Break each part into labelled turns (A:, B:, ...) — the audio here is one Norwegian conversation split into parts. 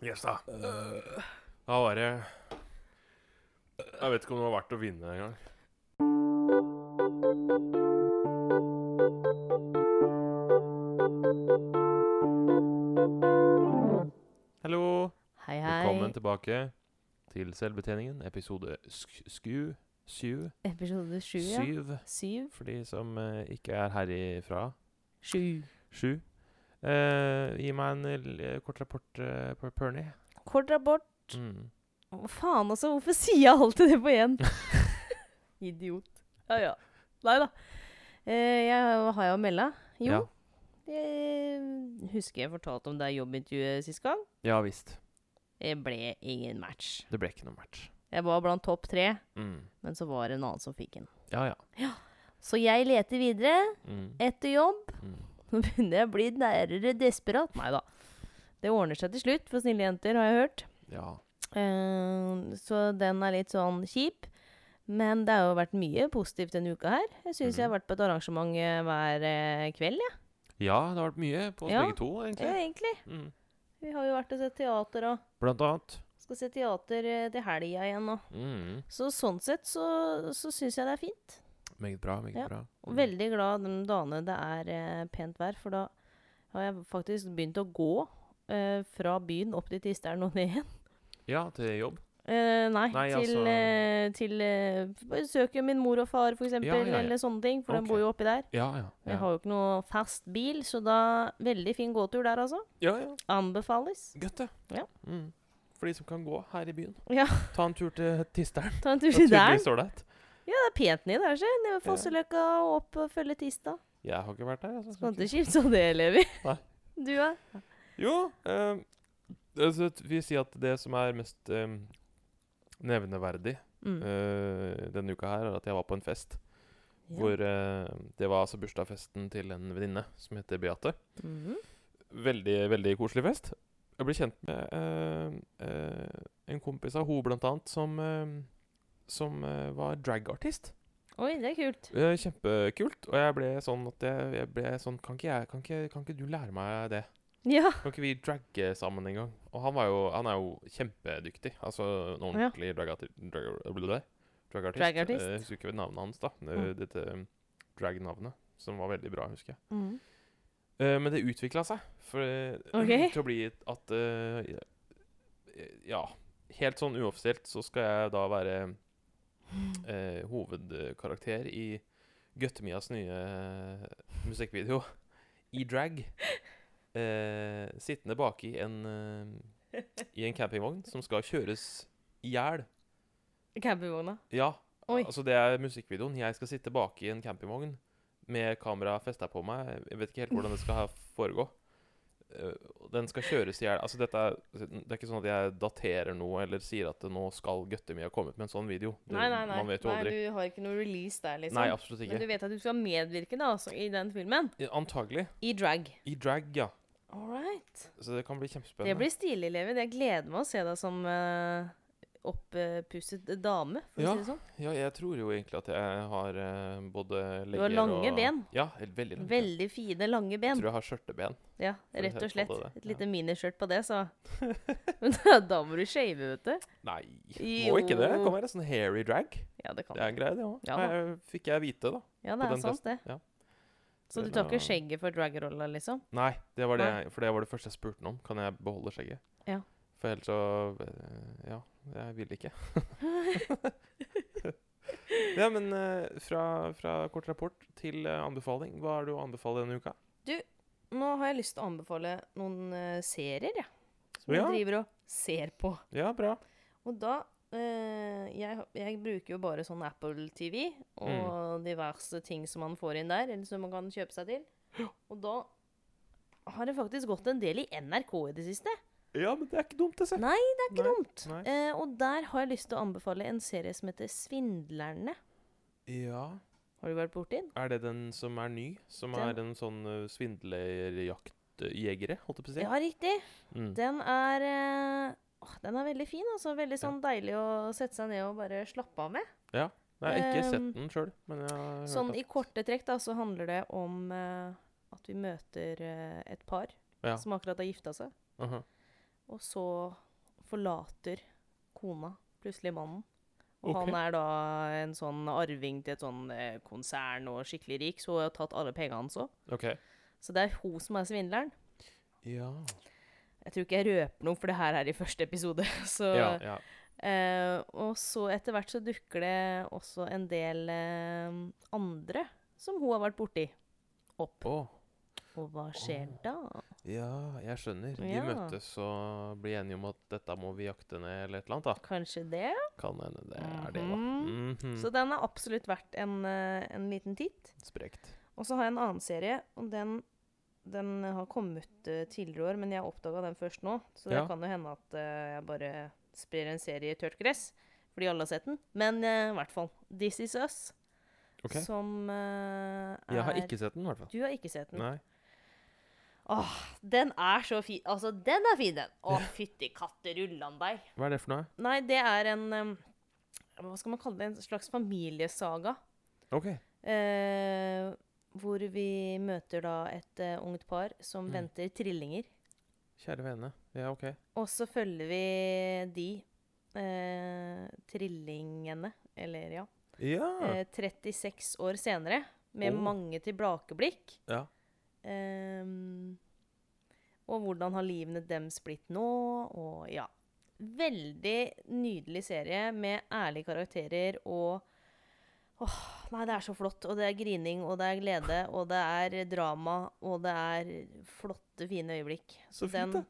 A: Yes, da.
B: Da var det Jeg vet ikke om det var verdt å vinne engang. Hallo.
C: Hei, hei.
B: Velkommen tilbake til Selvbetjeningen, episode sk sku... Sju?
C: Episode sju, ja.
B: Syv,
C: Syv.
B: for de som eh, ikke er herifra.
C: Sju.
B: Sju. Eh, gi meg en l- kort rapport eh, på Pernie.
C: Kort rapport.
B: Mm.
C: Å, faen også, hvorfor sier jeg alltid det på én? Idiot. Ja, ja. Nei da. Eh, jeg, hva har jeg å melde? Jo,
B: Ja.
C: jeg husker jeg fortalte om det jobbintervjuet sist gang.
B: ja visst.
C: Det ble ingen match.
B: Det ble ikke noe match.
C: Jeg var blant topp tre,
B: Mm.
C: men så var det en annen som fikk den.
B: Ja, ja.
C: Så jeg leter videre
B: Mm.
C: etter jobb.
B: Mm.
C: Nå begynner jeg å bli nærere desperat. Nei da. Det ordner seg til slutt for snille jenter, har jeg hørt.
B: Ja.
C: Eh, så den er litt sånn kjip. Men det har jo vært mye positivt denne uka her. Jeg syns jeg har vært på et arrangement eh, hver eh, kveld, jeg.
B: ja, det har vært mye på oss
C: Ja.
B: begge to,
C: Ja,
B: egentlig.
C: egentlig.
B: Mm.
C: Vi har jo vært og sett teater og
B: Blant annet.
C: skal se teater eh, til helga igjen nå.
B: Mm.
C: Så sånn sett så, så syns jeg det er fint.
B: Meget bra, meget
C: Ja.
B: bra.
C: Og Veldig glad de dagene det er eh, pent vær, for da har jeg faktisk begynt å gå eh, fra byen opp til Tisteren og ned igjen.
B: Ja, til jobb.
C: Eh, nei,
B: Nei,
C: til,
B: altså-
C: eh, til eh, besøke min mor og far, for eksempel,
B: Ja, ja, ja.
C: eller sånne ting, for
B: Ok.
C: de bor jo oppi der.
B: Ja, ja.
C: Jeg har jo ikke noe fast bil, så da Veldig fin gåtur der, altså.
B: ja, ja.
C: Anbefales.
B: Godt, det.
C: Ja.
B: Mm. For de som kan gå her i byen.
C: Ja.
B: Ta en tur til Tisteren.
C: Ta en tur
B: Det er
C: til der.
B: tydeligvis ålreit.
C: Ja, det er pent nedi der, se. Nede ved Fosseløkka og opp og følge Tista.
B: Jeg har ikke vært der. Altså.
C: Skal ikke kimse av det, Levi.
B: Nei.
C: Du, ja?
B: Jo, eh, altså, t- vi sier at det som er mest eh, nevneverdig
C: Mm.
B: eh, denne uka her, er at jeg var på en fest.
C: Ja.
B: Hvor eh, Det var altså bursdagsfesten til en venninne som heter Beate.
C: Mhm.
B: Veldig, veldig koselig fest. Jeg ble kjent med eh, eh, en kompis av henne, blant annet, som, eh, som eh, var dragartist.
C: Oi, det er kult.
B: Eh, kjempekult. Og jeg ble sånn at jeg, jeg ble sånn kan ikke, jeg, kan, ikke, kan ikke du lære meg det?
C: Ja.
B: Kan ikke vi dragge sammen en gang? Og han, var jo, han er jo kjempedyktig. Altså en
C: Ja.
B: ordentlig dragati- drag, blablabla, dragartist.
C: Dragartist.
B: Eh, Jeg husker ikke navnet hans, da. Det-
C: Mm.
B: Dette um, drag-navnet, som var veldig bra, husker jeg.
C: Mhm.
B: Eh, men det utvikla seg for, eh,
C: Ok.
B: til å bli at eh, eh, Ja, helt sånn uoffisielt så skal jeg da være eh, hovedkarakter i Gøttemias nye eh, musikkvideo i drag. Eh, sittende baki en, eh, i en campingvogn som skal kjøres i hjel.
C: Campingvogna.
B: Ja,
C: Oi.
B: altså det er musikkvideoen. Jeg skal sitte bak i en campingvogn med kamera festa på meg. Jeg vet ikke helt hvordan det skal ha- foregå. Eh, og Den skal kjøres i hjel. Altså, dette er, det er ikke sånn at jeg daterer noe eller sier at nå skal Gøttemia komme ut med en sånn video. Det-
C: Nei, nei, nei.
B: Man vet jo
C: nei.
B: aldri.
C: Du har ikke noe release der, liksom.
B: Nei, absolutt
C: Men du
B: ikke.
C: vet at du skal medvirke da, altså, i den filmen.
B: I- Antagelig.
C: I drag.
B: I drag, ja.
C: All right.
B: Så det kan bli kjempespennende.
C: Det blir stilig, Levi. Jeg gleder meg å se deg som eh, opppusset dame, for
B: Ja.
C: å si det sånn.
B: Ja, jeg tror jo egentlig at jeg har eh, både legger og
C: lange ben.
B: Ja, helt veldig lange. ben.
C: Veldig fine, lange
B: Jeg
C: ben.
B: tror jeg har skjørteben.
C: Ja,
B: Får vi
C: rett og
B: se på
C: slett.
B: det, det.
C: Et
B: Ja.
C: lite miniskjørt på det, så Men da, da må du shave, vet du.
B: Nei, må ikke det. Kan være sånn hairy drag.
C: Ja, det kan
B: Det er
C: du.
B: en greie, det òg.
C: Ja da.
B: Fikk jeg vite, da.
C: Ja,
B: på
C: det
B: den
C: er sant, det.
B: ja.
C: Så du
B: Eller-
C: tar ikke skjegget for dragrolla, liksom?
B: Nei, det var det,
C: Nei.
B: jeg- for det var det første jeg spurte han om. Kan jeg beholde skjegget?
C: Ja.
B: For ellers så eh, Ja, jeg vil ikke. ja, men eh, fra, fra kort rapport til eh, anbefaling. Hva er det å anbefale denne uka?
C: Nå har jeg lyst til å anbefale noen eh, serier, jeg. Som
B: Ja.
C: jeg driver og ser på.
B: Ja, bra.
C: Og da eh, jeg, jeg bruker jo bare sånn Apple TV og diverse ting som man får inn der, eller som man kan kjøpe seg til. Og da har det faktisk gått en del i NRK i det siste.
B: Ja, men det er ikke dumt, det. Se.
C: Nei, det er ikke
B: Nei,
C: dumt.
B: nei.
C: Eh, og der har jeg lyst til å anbefale en serie som heter Svindlerne.
B: Ja.
C: Har du vært borti den?
B: Er det den som er ny? Som er en sånn eh, svindlerjaktjegere, holdt jeg på å si?
C: Ja, riktig.
B: Mm.
C: Den er eh, åh, Den er veldig fin, altså. Veldig sånn deilig å sette seg ned og bare slappe av med.
B: Nei, jeg har ikke
C: ehm,
B: sett den sjøl, men jeg har hørt
C: Sånn
B: at-
C: i korte trekk da, så handler det om eh, at vi møter eh, et par
B: Ja.
C: som akkurat har gifta seg.
B: Aha.
C: Og så forlater kona plutselig mannen. Og
B: Ok.
C: han er da en sånn arving til et sånn eh, konsern og skikkelig rik, så hun har tatt alle pengene hans òg.
B: OK.
C: Så det er hun som er svindleren.
B: Ja.
C: Jeg tror ikke jeg røper noe, for det her er i første episode. Så,
B: ja, ja.
C: Eh, og så etter hvert så dukker det også en del eh, andre som hun har vært borti, opp.
B: Å.
C: Og hva skjer da?
B: Ja, jeg skjønner. De
C: Ja.
B: møtes og blir enige om at dette må vi jakte ned, eller et eller annet.
C: Kanskje det?
B: da. Kan hende det er det, da.
C: Mhm.
B: Mhm.
C: Så den er absolutt verdt en, eh, en liten titt.
B: Sprekt.
C: Og så har jeg en annen serie, og den, den har kommet eh, tidligere i år, men jeg oppdaga den først nå. Så det
B: Ja.
C: kan jo hende at eh, jeg bare sprer en serie i tørt gress, fordi alle har sett den. Men eh, i hvert fall. This Is Us,
B: OK.
C: som eh, er
B: Jeg har ikke sett den, i hvert fall.
C: Du har ikke sett den.
B: Nei.
C: Den er så fin. Altså, den er fin, den. Å, fytti katte rullandeig.
B: Hva er det for noe?
C: Nei, det er en em, Hva skal man kalle det? En slags familiesaga.
B: OK.
C: Eh, hvor vi møter da et eh, ungt par som
B: Mm.
C: venter trillinger.
B: Kjære vene. Ja, OK.
C: Og så følger vi de eh, trillingene, eller ja,
B: Ja.
C: eh, 36 år senere, med
B: Oh.
C: mange tilbakeblikk.
B: ja.
C: Ehm, og hvordan har livene deres blitt nå, og ja. Veldig nydelig serie med ærlige karakterer og Åh, nei, det er så flott. Og det er grining, og det er glede, og det er drama, og det er flotte, fine øyeblikk.
B: Så fint, da.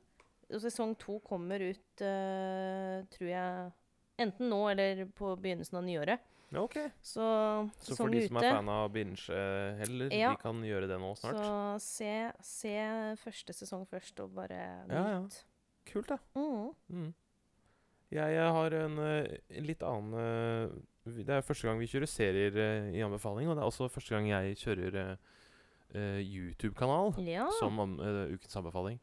C: Og sesong to kommer ut, eh, tror jeg, enten nå eller på begynnelsen av nyåret.
B: Ja, OK.
C: Så
B: Så for
C: sesong
B: de
C: ute.
B: som er fan av binge eh, heller,
C: Ja.
B: de kan gjøre det nå snart.
C: Så se, se første sesong først, og bare
B: Ja, ja.
C: nyt.
B: Kult, da.
C: Mm.
B: Mm. Jeg, eh, har en eh, en litt annen eh, vi- Det er første gang vi kjører serier eh, i anbefaling, og det er også første gang jeg kjører eh, eh, YouTube-kanal
C: Ja.
B: som an, eh, ukens anbefaling.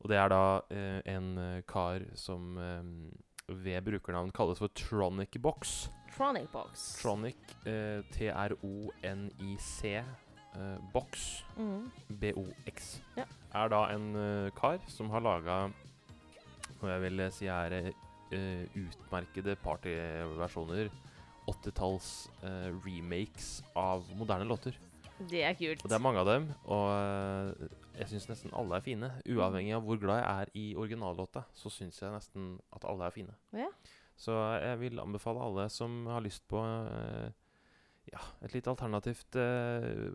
B: Og det er da eh, en eh, kar som eh, ved brukernavn kalles for Tronic Box.
C: Tronic Box.
B: Tronic, eh, T-R-O-N-I-C, eh, Box.
C: Mm.
B: BOX.
C: Ja.
B: Er da en eh, kar som har laga noe jeg vil si er eh, utmerkede partyversjoner. 80-talls eh, remakes av moderne låter.
C: Det er kult.
B: Og det er mange av dem, og eh, jeg syns nesten alle er fine. Uavhengig av hvor glad jeg er i originallåta, så syns jeg nesten at alle er fine.
C: Ja.
B: Så jeg vil anbefale alle som har lyst på eh, ja, et litt alternativt eh,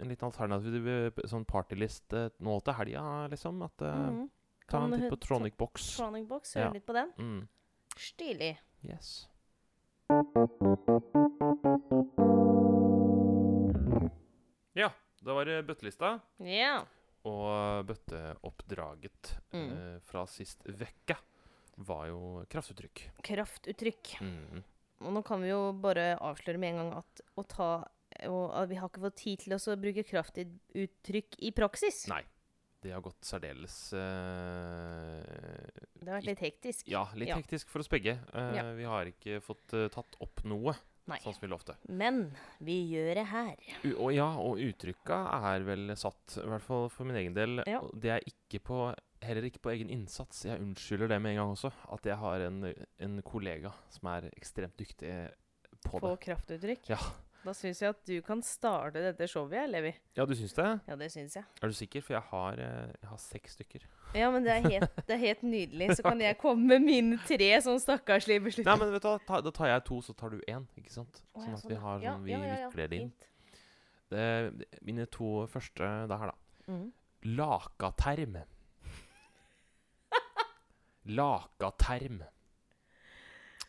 B: En litt alternativ eh, p- sånn partylist eh, nå til helga, liksom. At, eh,
C: Mhm.
B: Ta
C: Kan
B: en titt
C: hu-
B: på Tronic Box.
C: Tronic Box,
B: Ja.
C: hør litt på den.
B: Mm.
C: Stilig.
B: Yes. Ja, da var det bøttelista
C: Ja.
B: og bøtteoppdraget
C: Mm.
B: eh, fra sist vekka var jo kraftuttrykk.
C: Kraftuttrykk.
B: Mm.
C: Og nå kan vi jo bare avsløre med en gang at å ta og at vi har ikke fått tid til oss å bruke kraftuttrykk i praksis.
B: Nei. Det har gått særdeles eh,
C: Det har vært litt hektisk.
B: Ja, litt
C: Ja.
B: hektisk for oss begge. Eh,
C: Ja.
B: Vi har ikke fått eh, tatt opp noe,
C: Nei.
B: sånn som vi lovte.
C: Men vi gjør det her.
B: U og ja, og uttrykka er vel satt, i hvert fall for min egen del.
C: Ja.
B: og Det er ikke på, heller ikke på egen innsats. Jeg unnskylder det med en gang også, at jeg har en, en kollega som er ekstremt dyktig på
C: På
B: det.
C: kraftuttrykk.
B: Ja.
C: Da syns jeg at du kan starte dette showet, jeg, Levi.
B: Ja, du syns det?
C: Ja, det syns jeg.
B: Er du sikker? For jeg har, eh, jeg har seks stykker.
C: Ja, men det er helt, det er helt nydelig. Så kan jeg komme med mine tre sånn stakkarslige
B: Nei,
C: beslutninger.
B: men vet du hva, Ta- da tar jeg to, så tar du én, ikke sant?
C: Å,
B: Sånn
C: ja,
B: at vi har
C: ja.
B: sånn, vi
C: Ja, ja, ja,
B: vikler det inn.
C: fint.
B: Det- det- Mine to første det her, da.
C: Mhm.
B: Lakaterm. Lakaterm.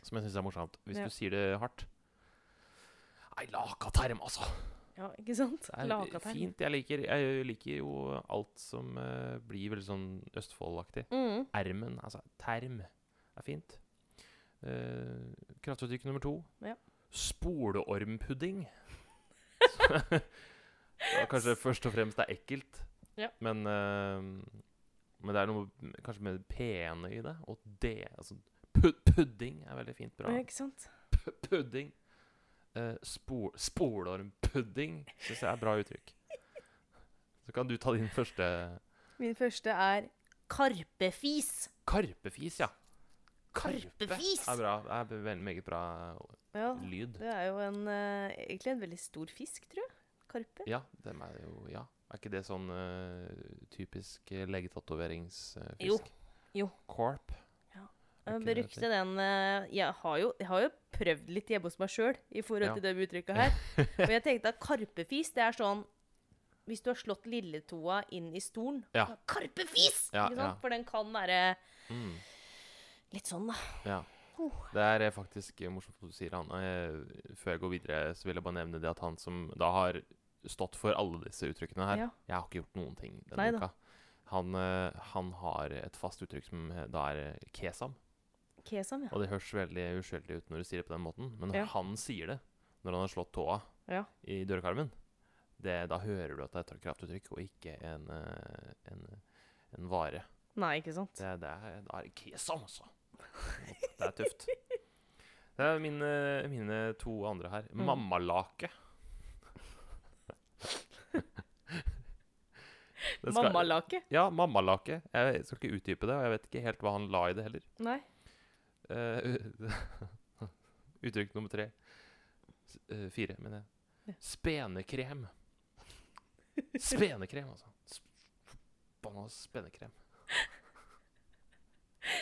B: Som jeg syns er morsomt. Hvis
C: Ja.
B: du sier det hardt. Nei, lakaterm, altså.
C: Ja, ikke sant?
B: Det er
C: Lakaterm.
B: fint. Jeg liker, jeg liker jo alt som eh, blir veldig sånn Østfold-aktig.
C: Mhm.
B: Ermen, altså term, er fint. Uh, kraftuttrykk nummer to.
C: Ja.
B: Spoleormpudding. Det er kanskje først og fremst det er ekkelt,
C: Ja.
B: men, eh, men det er noe m- kanskje med det pene i det. Og det altså, pu Pudding er veldig fint. Bra.
C: Ja, ikke sant?
B: P pudding. Eh, spo spolormpudding syns jeg er bra uttrykk. Så kan du ta din første.
C: Min første er karpefis.
B: Karpefis, ja. Karpe.
C: Karpefis!
B: Det er bra. Det er veldig meget bra
C: Ja,
B: lyd.
C: det er jo en, eh, egentlig en veldig stor fisk, tror jeg. Karpe.
B: Ja, dem er jo Ja. Er ikke det sånn eh, typisk eh, legetatoveringsfisk?
C: Jo, jo.
B: Corp.
C: Ja.
B: Er
C: Jeg
B: ikke det
C: brukte den eh, jeg, har jo, jeg har jo prøvd litt hjemme hos meg sjøl i forhold
B: Ja.
C: til det uttrykket her. Og jeg tenkte at karpefis, det er sånn Hvis du har slått lilletoa inn i stolen
B: Ja.
C: Karpefis!
B: Ja,
C: ikke
B: ja.
C: sant? For den kan
B: heter?
C: være
B: Mm.
C: litt sånn, da.
B: Ja.
C: Oh.
B: Det er eh, faktisk eh, morsomt at du sier han. Eh, Før jeg går videre, så vil jeg bare nevne det at han som da har stått for alle disse uttrykkene her
C: Ja.
B: Jeg har ikke gjort noen ting denne
C: Neida.
B: uka. Han, eh, han har et fast uttrykk som eh, da er eh, kesam.
C: Kesam, ja.
B: Og det høres veldig uskyldig ut når du sier det på den måten, men
C: Ja.
B: han sier det når han har slått tåa
C: Ja.
B: i dørkarmen. Det, da hører du at det er et kraftuttrykk, og ikke en, eh, en, en vare.
C: Nei, ikke sant?
B: Det, det er, det er kesam, altså. Det er tøft. Det er mine, mine to andre her.
C: Mm.
B: Mammalake. Det skal-
C: Mammalake?
B: Ja, mammalake. Jeg skal ikke utdype det, og jeg vet ikke helt hva han la i det heller.
C: Nei.
B: Eh, u- Eh, uttrykk nummer tre. S eh, fire, mener
C: Ja.
B: jeg. Spenekrem. Spenekrem, altså. Sp- Forbanna spenekrem.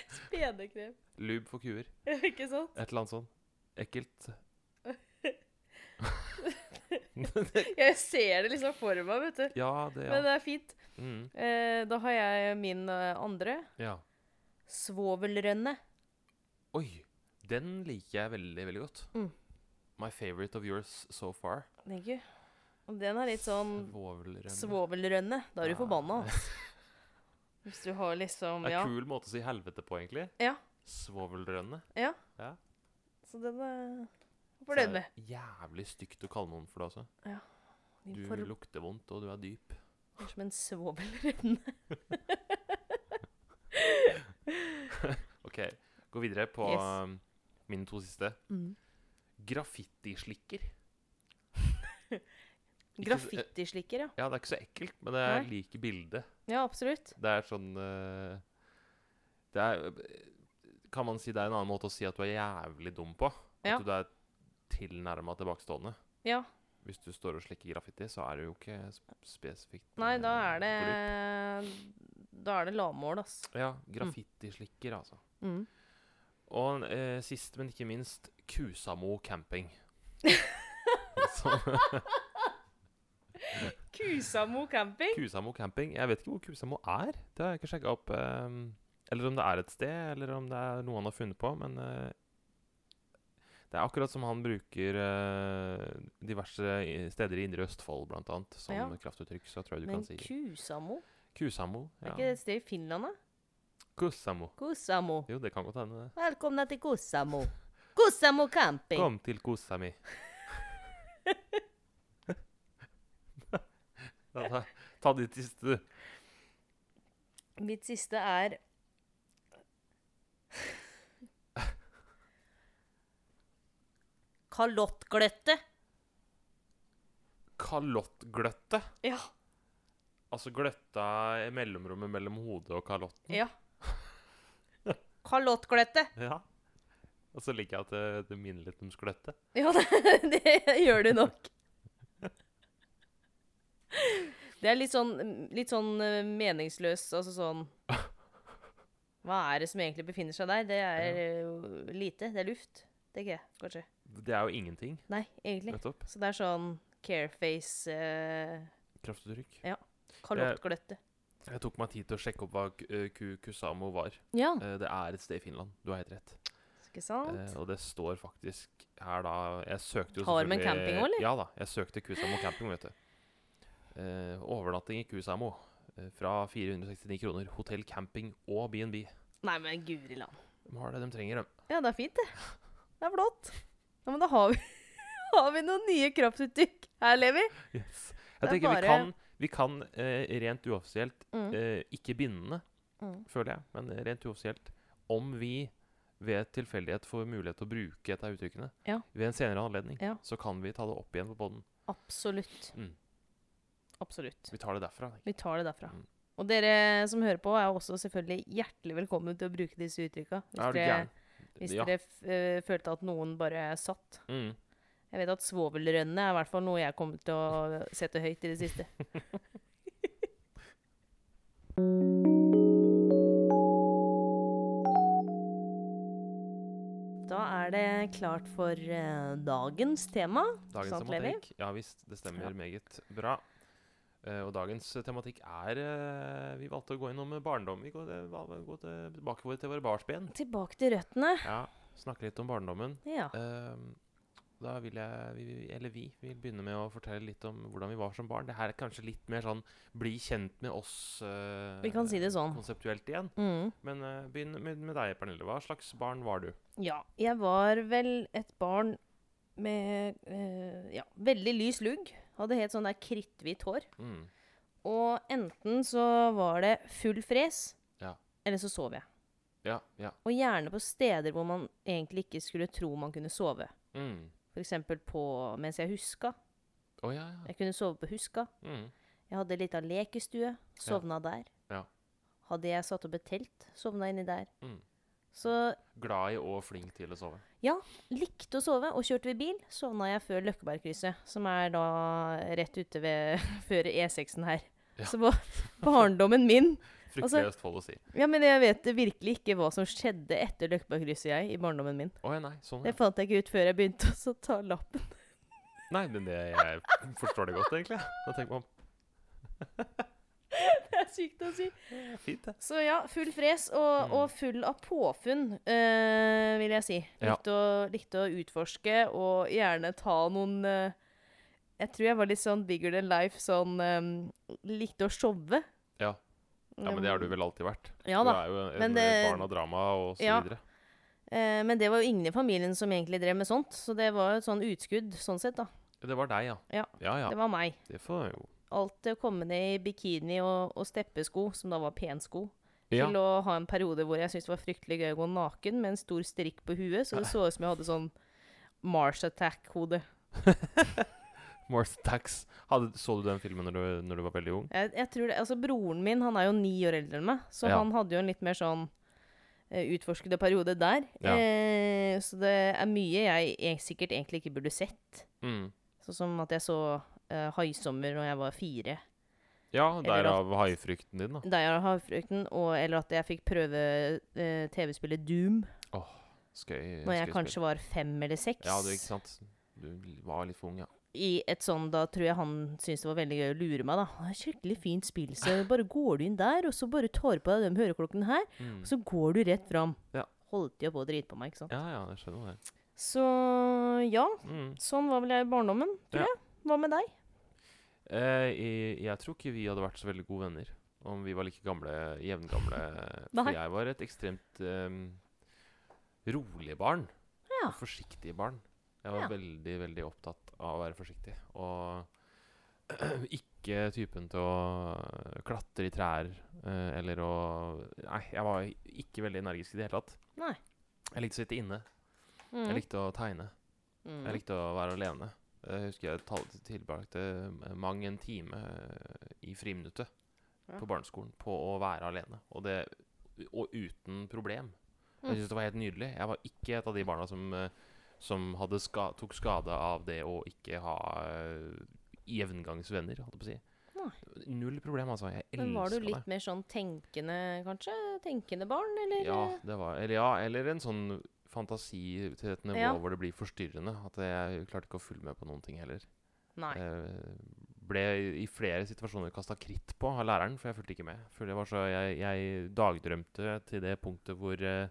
C: Spenekrem.
B: Lube for kuer.
C: ikke sant?
B: Et eller annet sånt. Ekkelt. Det-
C: Jeg ser det liksom for meg, vet du.
B: ja, det
C: Men
B: ja.
C: det er fint.
B: Mm,
C: Eh, da har jeg min eh, andre.
B: ja.
C: Svovelrønne.
B: Oi, den liker jeg veldig, veldig godt.
C: Mm.
B: My favorite of yours so far.
C: Thank you. Og den er litt sånn
B: Svovelrønne.
C: svovelrønne. Da er du
B: Ja.
C: forbanna. ass. Hvis du har liksom
B: Det er
C: Ja.
B: en kul måte å si helvete på, egentlig.
C: Ja.
B: Svovelrønne.
C: ja.
B: Ja.
C: Så den er
B: Så
C: fornøyd
B: er
C: med.
B: det Jævlig stygt å kalle noen for det altså. også.
C: Din
B: Du
C: form
B: lukter vondt, og du er dyp.
C: er som en svovelrønne.
B: OK, gå videre på
C: Yes.
B: um, mine to siste.
C: Mm.
B: Graffitislikker. Ikke så- eh,
C: Graffitislikker, ja.
B: Ja, det er ikke så ekkelt, men jeg
C: Nei.
B: liker bildet.
C: Ja, absolutt.
B: Det er sånn eh, Det er eh, Kan man si det er en annen måte å si at du er jævlig dum på? At
C: Ja.
B: du er tilnærma tilbakestående?
C: Ja.
B: Hvis du står og slikker graffiti, så er du jo ikke sp- spesifikt
C: Nei, da
B: eh,
C: er det
B: glup.
C: Da er det lavmål, ass.
B: Ja, graffitislikker, altså.
C: Mm.
B: Og eh, sist, men ikke minst, Kusamo camping. Så,
C: Kusamo camping.
B: Kusamo camping. Jeg vet ikke hvor Kusamo er. Det har jeg ikke sjekka opp. ehm, eller om det er et sted, eller om det er noe han har funnet på. Men eh, det er akkurat som han bruker eh, diverse i- steder i Indre Østfold, blant annet, som
C: Ja.
B: kraftuttrykk. Så tror jeg du
C: Men
B: kan si
C: Kusamo?
B: Kusamo. Ja.
C: Er ikke det et sted i Finland, da?
B: Kusamo.
C: Kusamo.
B: Jo, det kan godt hende. det.
C: Velkomna til Kusamo. Kusamo camping.
B: Kom til kosa mi. Ja, ta, ta ditt siste, du.
C: Mitt siste er Kalottgløtte.
B: Kalottgløtte.
C: Ja.
B: Altså gløtta i mellomrommet mellom hodet og kalott.
C: ja. Kalottgløtte.
B: Ja. Og så liker jeg at det, det minner litt om skløtte.
C: Ja, det, det gjør du nok. Det er litt sånn, litt sånn eh, meningsløs, altså sånn Hva er det som egentlig befinner seg der? Det er eh, lite. Det er luft, tenker jeg, kanskje.
B: Det er jo ingenting,
C: Nei, egentlig.
B: nettopp.
C: Så det er sånn careface eh,
B: Kraftuttrykk.
C: Kalottgløtte.
B: Jeg tok meg tid til å sjekke opp hva K- eh, Ku- Kusamo var.
C: Ja.
B: Eh, Det er et sted i Finland, du har helt rett.
C: Ikke
B: Eh,
C: sant?
B: Og det står faktisk her da Jeg søkte jo
C: Har med
B: selvfølgelig-
C: camping også, eller?
B: Ja da, jeg søkte Kusamo camping, vet du. Eh, Overnatting i Kusamo eh, fra 469 kroner. Hotell, camping og B&B.
C: Nei, men guri land.
B: De har det de trenger, de.
C: Ja, det er fint, det. Det er flott. Ja, men da har vi, har vi noen nye kroppsuttrykk her, Levi.
B: Yes.
C: Det
B: Jeg
C: er
B: tenker
C: bare-
B: vi kan, vi kan eh, rent uoffisielt
C: Mm.
B: eh, ikke bindende,
C: Mm.
B: føler jeg, men rent uoffisielt, om vi ved tilfeldighet får mulighet til å bruke et av uttrykkene
C: Ja.
B: ved en senere anledning,
C: Ja.
B: så kan vi ta det opp igjen på poden.
C: Absolutt.
B: Mm.
C: Absolutt.
B: Vi tar det derfra. tenker jeg.
C: Vi tar det derfra.
B: Mm.
C: Og dere som hører på, er også selvfølgelig hjertelig velkommen til å bruke disse uttrykka.
B: Er du
C: Hvis dere,
B: gæren?
C: hvis
B: Ja.
C: dere f eh, følte at noen bare satt.
B: Mm.
C: Jeg vet at svovelrønne er i hvert fall noe jeg kommer til å sette høyt i det siste. Da er det klart for eh, dagens tema.
B: Dagens
C: Sant, Levi?
B: tematikk. Ja visst, det stemmer
C: Ja.
B: meget bra. Eh, og dagens eh, tematikk er eh, Vi valgte å gå innom eh, barndom. Vi går, eh, va- går til- tilbake vår til våre barnsben.
C: Tilbake til røttene.
B: Ja, snakke litt om barndommen.
C: Ja.
B: Ehm, da vil jeg, vi, vi- eller vi, vil begynne med å fortelle litt om hvordan vi var som barn. Det her er kanskje litt mer sånn bli kjent med oss eh,
C: Vi kan si det sånn.
B: konseptuelt igjen.
C: Mm.
B: Men eh, begynn med, med deg, Pernille. Hva slags barn var du?
C: Ja, jeg var vel et barn med eh, ja, veldig lys lugg. Hadde helt sånn der kritthvitt hår.
B: Mm.
C: Og enten så var det full fres,
B: Ja.
C: eller så sov jeg.
B: Ja. ja.
C: Og gjerne på steder hvor man egentlig ikke skulle tro man kunne sove.
B: Mm.
C: F.eks. på mens jeg huska.
B: Å ja, ja.
C: Jeg kunne sove på huska.
B: Mm.
C: Jeg hadde litt av lekestue. Sovna der.
B: Ja.
C: Hadde jeg satt opp et telt, sovna inni der.
B: Mm.
C: Så
B: Glad i og flink til å sove.
C: likte å sove, og kjørte vi bil, sovna jeg før Løkkebergkrysset, som er da rett ute ved før E6-en her.
B: Ja.
C: Så på barndommen min
B: Fryktelig
C: Altså-
B: Østfold å si.
C: Ja, men jeg vet virkelig ikke hva som skjedde etter Løkkebergkrysset, jeg, i barndommen min.
B: Å ja, nei, sånn
C: Det
B: ja.
C: fant jeg ikke ut før jeg begynte å så ta lappen.
B: Nei, men det, jeg forstår det godt, egentlig. Da tenker man
C: Det er sykt å si.
B: fint, det.
C: Så ja, full fres og,
B: Mm.
C: og full av påfunn, eh, vil jeg si.
B: Ja.
C: Likte, å, likte å utforske og gjerne ta noen eh, Jeg tror jeg var litt sånn bigger than life, sånn eh, Likte å showe. Mm.
B: Ja. ja, men det har du vel alltid vært?
C: Ja
B: Du
C: da.
B: er jo en,
C: Men
B: en
C: det-
B: barn av drama og så
C: Ja.
B: videre.
C: Eh, men det var jo ingen i familien som egentlig drev med sånt, så det var jo et sånn utskudd sånn sett, da.
B: Det var deg, ja.
C: Ja,
B: ja. ja.
C: Det var meg.
B: Det får jo
C: Alt det å komme ned i bikini og, og steppesko, som da var pensko,
B: Ja.
C: til å ha en periode hvor jeg syntes det var fryktelig gøy å gå naken med en stor strikk på huet, så det så ut som jeg hadde sånn Mars Attack-hode.
B: Morse Tax. Hadde, så du den filmen når du, når du var veldig ung?
C: Jeg, jeg tror det, altså Broren min han er jo ni år eldre enn meg, så
B: Ja.
C: han hadde jo en litt mer sånn eh, utforskede periode der.
B: Ja.
C: Eh, så det er mye jeg, eh, sikkert egentlig ikke burde sett.
B: Mm.
C: Sånn som at jeg så eh, 'Haisommer' når jeg var fire.
B: Ja,
C: Eller
B: derav haifrykten din, da.
C: Da jeg har frøken, og, eller at jeg fikk prøve eh, TV-spillet Doom
B: Skøy.
C: når jeg
B: skøy
C: kanskje var fem eller seks.
B: spill. Ja, du, ikke sant. Du var litt for ung, ja.
C: I et sånn, Da tror jeg han syntes det var veldig gøy å lure meg. da. Det er et Skikkelig fint spill, så bare går du inn der, og så bare tar du på deg de høreklokkene her,
B: Mm.
C: og så går du rett fram.
B: Ja.
C: Holdt de jo på å drite på meg, ikke sant.
B: Ja, ja, jeg skjønner det.
C: Så ja,
B: Mm.
C: sånn var vel jeg i barndommen, tror
B: Ja.
C: jeg. Hva med deg?
B: Eh, jeg, jeg tror ikke vi hadde vært så veldig gode venner om vi var like gamle, jevngamle.
C: Nei.
B: for jeg var et ekstremt em, rolig barn.
C: Ja.
B: Og forsiktig barn. Jeg var
C: Ja.
B: veldig, veldig opptatt av å være forsiktig. Og ikke typen til å klatre i trær eh, eller å Nei, jeg var ikke veldig energisk i det hele tatt.
C: Nei.
B: Jeg likte å sitte inne.
C: Mm.
B: Jeg likte å tegne.
C: Mm.
B: Jeg likte å være alene. Jeg husker jeg tal- tilbrakte eh, mang en time eh, i friminuttet
C: Ja.
B: på barneskolen på å være alene, og, det, og uten problem.
C: Mm.
B: Jeg syntes det var helt nydelig. Jeg var ikke et av de barna som, eh, som hadde ska tok skade av det å ikke ha eh, jevngangsvenner, holdt jeg på å si. Null problem, altså. Jeg elska det.
C: Men var du litt mer sånn tenkende, kanskje? Tenkende barn, eller?
B: Ja, det var, eller, ja, eller en sånn fantasi til et nivå
C: Ja.
B: hvor det blir forstyrrende. At jeg klarte ikke å følge med på noen ting heller.
C: Nei.
B: Eh, ble i flere situasjoner kasta kritt på av læreren, for jeg fulgte ikke med. For det var så, jeg, jeg dagdrømte til det punktet hvor eh,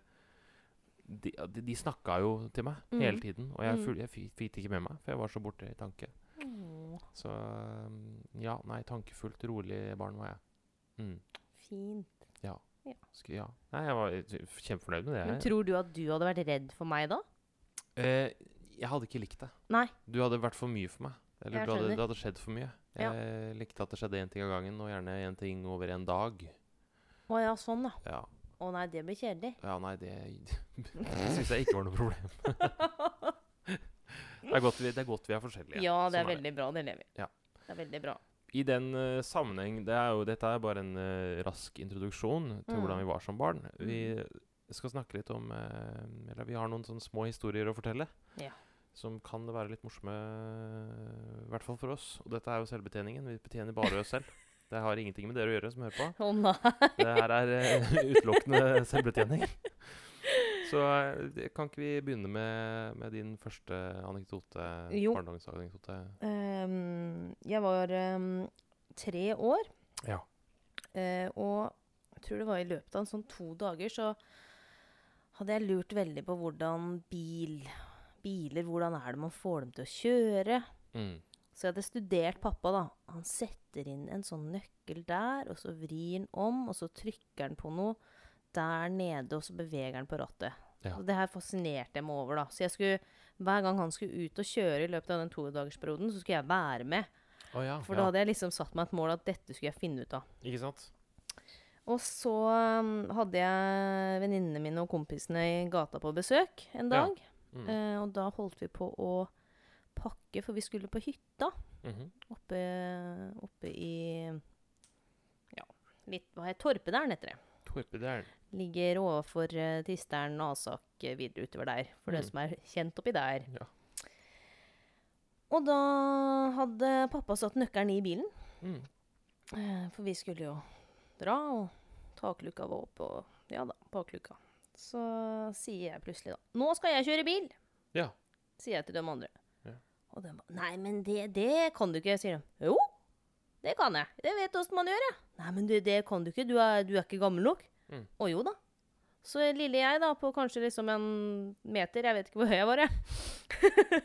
B: de, ja, de, de snakka jo til meg
C: Mhm.
B: hele tiden, og jeg,
C: Mhm.
B: ful, jeg fi- fikk det ikke med meg, for jeg var så borte i tanke.
C: Åh,
B: Så eh, ja, nei, tankefullt, rolig barn var jeg. Mm.
C: fint.
B: Sk- Ja. Nei, jeg var eh, kjempefornøyd med det.
C: Men
B: jeg.
C: tror du at du hadde vært redd for meg da?
B: Eh, jeg hadde ikke likt det.
C: Nei.
B: Du hadde vært for mye for meg. Eller
C: Jeg
B: du hadde,
C: skjønner.
B: det hadde skjedd for mye.
C: Ja.
B: Jeg likte at det skjedde én ting av gangen, og gjerne én ting over en dag.
C: Å ja, sånn, da.
B: Ja,
C: Å nei, det blir kjedelig.
B: ja nei, det syns jeg ikke var noe problem. det, er godt vi, det er godt vi er forskjellige.
C: Ja, det
B: Sånn
C: er veldig bra. Det lever vi.
B: Ja.
C: Det er veldig bra.
B: I den eh, sammenheng det er jo, Dette er bare en eh, rask introduksjon til
C: Mm.
B: hvordan vi var som barn. Vi skal snakke litt om eh, Eller vi har noen sånne små historier å fortelle.
C: Ja.
B: Som kan være litt morsomme, i hvert fall for oss. Og dette er jo selvbetjeningen. Vi betjener bare oss selv. Det har ingenting med dere å gjøre som hører på.
C: Å nei.
B: Det her er eh, utelukkende selvbetjening. Så eh, det- kan ikke vi begynne med, med din første anekdote?
C: Jo.
B: Barndomsanekdote.
C: Ehm, jeg var ehm, tre år,
B: Ja.
C: eh, og jeg tror det var i løpet av en sånn to dager så hadde jeg lurt veldig på hvordan bil Biler, hvordan er det man får dem til å kjøre?
B: Mm.
C: Så jeg hadde studert pappa, da. Han setter inn en sånn nøkkel der, og så vrir han om, og så trykker han på noe der nede, og så beveger han på rattet.
B: Ja.
C: Så det her fascinerte jeg meg over, da. Så jeg skulle, hver gang han skulle ut og kjøre i løpet av den todagersperioden, så skulle jeg være med.
B: Å ja,
C: For da
B: ja.
C: hadde jeg liksom satt meg et mål at dette skulle jeg finne ut av.
B: Ikke sant?
C: Og så um, hadde jeg venninnene mine og kompisene i gata på besøk
B: Ja.
C: en dag.
B: Mm.
C: Eh, og da holdt vi på å pakke, for vi skulle på hytta.
B: Mhm.
C: Oppe, oppe i Ja, litt Hva heter Torpedalen, heter det.
B: Torpedalen.
C: Ligger overfor eh, Tisteren og Asak eh, videre utover der, for
B: Mm.
C: den som er kjent oppi der.
B: Ja.
C: Og da hadde pappa satt nøkkelen i bilen,
B: Mm.
C: eh, for vi skulle jo dra, og takluka var opp, og ja da, bakluka. Så sier jeg plutselig da 'Nå skal jeg kjøre bil',
B: Ja.
C: sier jeg til de andre.
B: Ja.
C: Og de bare 'Nei, men det, det kan du ikke', sier de. 'Jo, det kan jeg. Jeg vet åssen man gjør, jeg'. 'Nei, men det, det kan du ikke. Du er, du er ikke gammel nok'.
B: Mm.
C: Å jo da. Så lille jeg, da, på kanskje liksom en meter, jeg vet ikke hvor høy jeg var, jeg.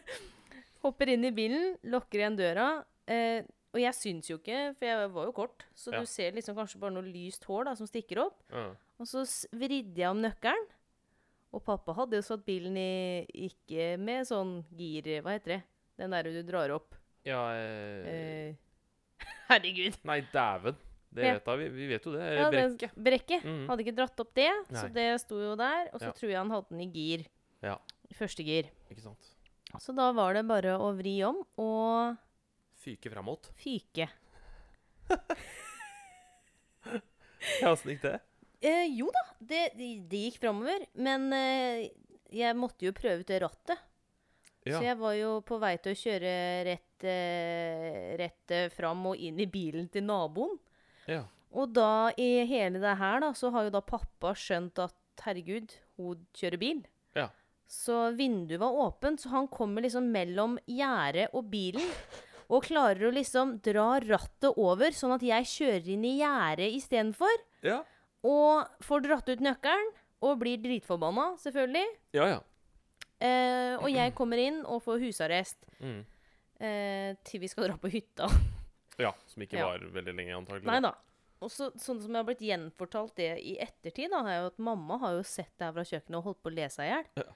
C: Hopper inn i bilen, lukker igjen døra. Eh, og jeg syns jo ikke, for jeg var jo kort, så
B: Ja.
C: du ser liksom kanskje bare noe lyst hår da, som stikker opp.
B: Ja.
C: Og så s- vridde jeg om nøkkelen. Og pappa hadde jo satt bilen i Ikke med sånn gir... Hva heter det? Den der du drar opp.
B: ja eh,
C: Eh, herregud.
B: Nei, dæven. Det
C: Ja.
B: vet da, vi, vi vet jo det.
C: Ja, det-
B: Brekket.
C: Brekket.
B: Eh, Mhm.
C: Hadde ikke dratt opp det, så
B: Nei.
C: det sto jo der. Og så
B: Ja.
C: tror jeg han hadde den i gir.
B: Ja.
C: I Første gir.
B: Ikke sant?
C: Så da var det bare å vri om og
B: Fyke framåt.
C: fyke.
B: Ja, åssen gikk det?
C: Eh, jo da, det, det, det gikk framover. Men eh, jeg måtte jo prøve ut det rattet.
B: Ja.
C: Så jeg var jo på vei til å kjøre rett, eh, rett eh, fram og inn i bilen til naboen.
B: ja.
C: Og da, i hele det her, da, så har jo da pappa skjønt at herregud, hun kjører bil.
B: Ja.
C: Så vinduet var åpent, så han kommer liksom mellom gjerdet og bilen. Og klarer å liksom dra rattet over, sånn at jeg kjører inn i gjerdet istedenfor.
B: Ja.
C: Og får dratt ut nøkkelen, og blir dritforbanna, selvfølgelig.
B: Ja, ja.
C: Eh, og jeg kommer inn og får husarrest
B: Mm.
C: eh, til vi skal dra på hytta.
B: ja. Som ikke
C: Ja.
B: var veldig lenge, antagelig.
C: Nei da. Og så, sånn som jeg har blitt gjenfortalt det i ettertid, da, er jo at mamma har jo sett det her fra kjøkkenet og holdt på å le seg i hjel.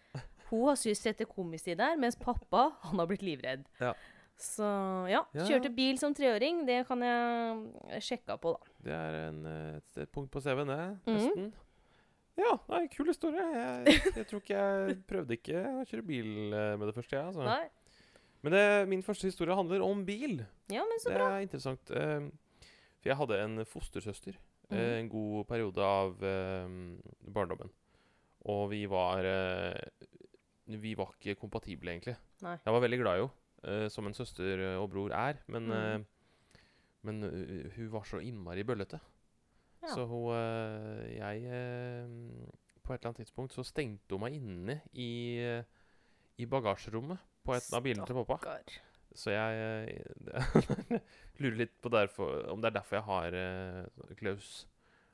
C: Hun har syntes dette komisk i der, mens pappa han har blitt livredd.
B: Ja.
C: Så ja,
B: Ja, ja.
C: kjørte bil som treåring, det kan jeg sjekke på, da.
B: Det er en, eh, et, et punkt på CV-en, det.
C: Mhm.
B: Nesten. Ja, nei, kul historie. Jeg, jeg tror ikke jeg prøvde ikke å kjøre bil eh, med det første, jeg. Altså.
C: Nei.
B: Men det, min første historie handler om bil.
C: Ja, men så
B: Det er interessant. eh, For jeg hadde en fostersøster eh,
C: Mhm.
B: en god periode av eh, barndommen. Og vi var eh, Vi var ikke kompatible, egentlig.
C: Nei.
B: Jeg var veldig glad i henne, eh, som en søster og bror er. Men,
C: Mhm.
B: eh, men eh, hun var så innmari bøllete.
C: Ja.
B: Så hun eh, Jeg eh, På et eller annet tidspunkt så stengte hun meg inne i, eh, i bagasjerommet på et av bilene til pappa.
C: Stakkar.
B: Så jeg eh, lurer litt på derfor, om det er derfor jeg har eh, klaus.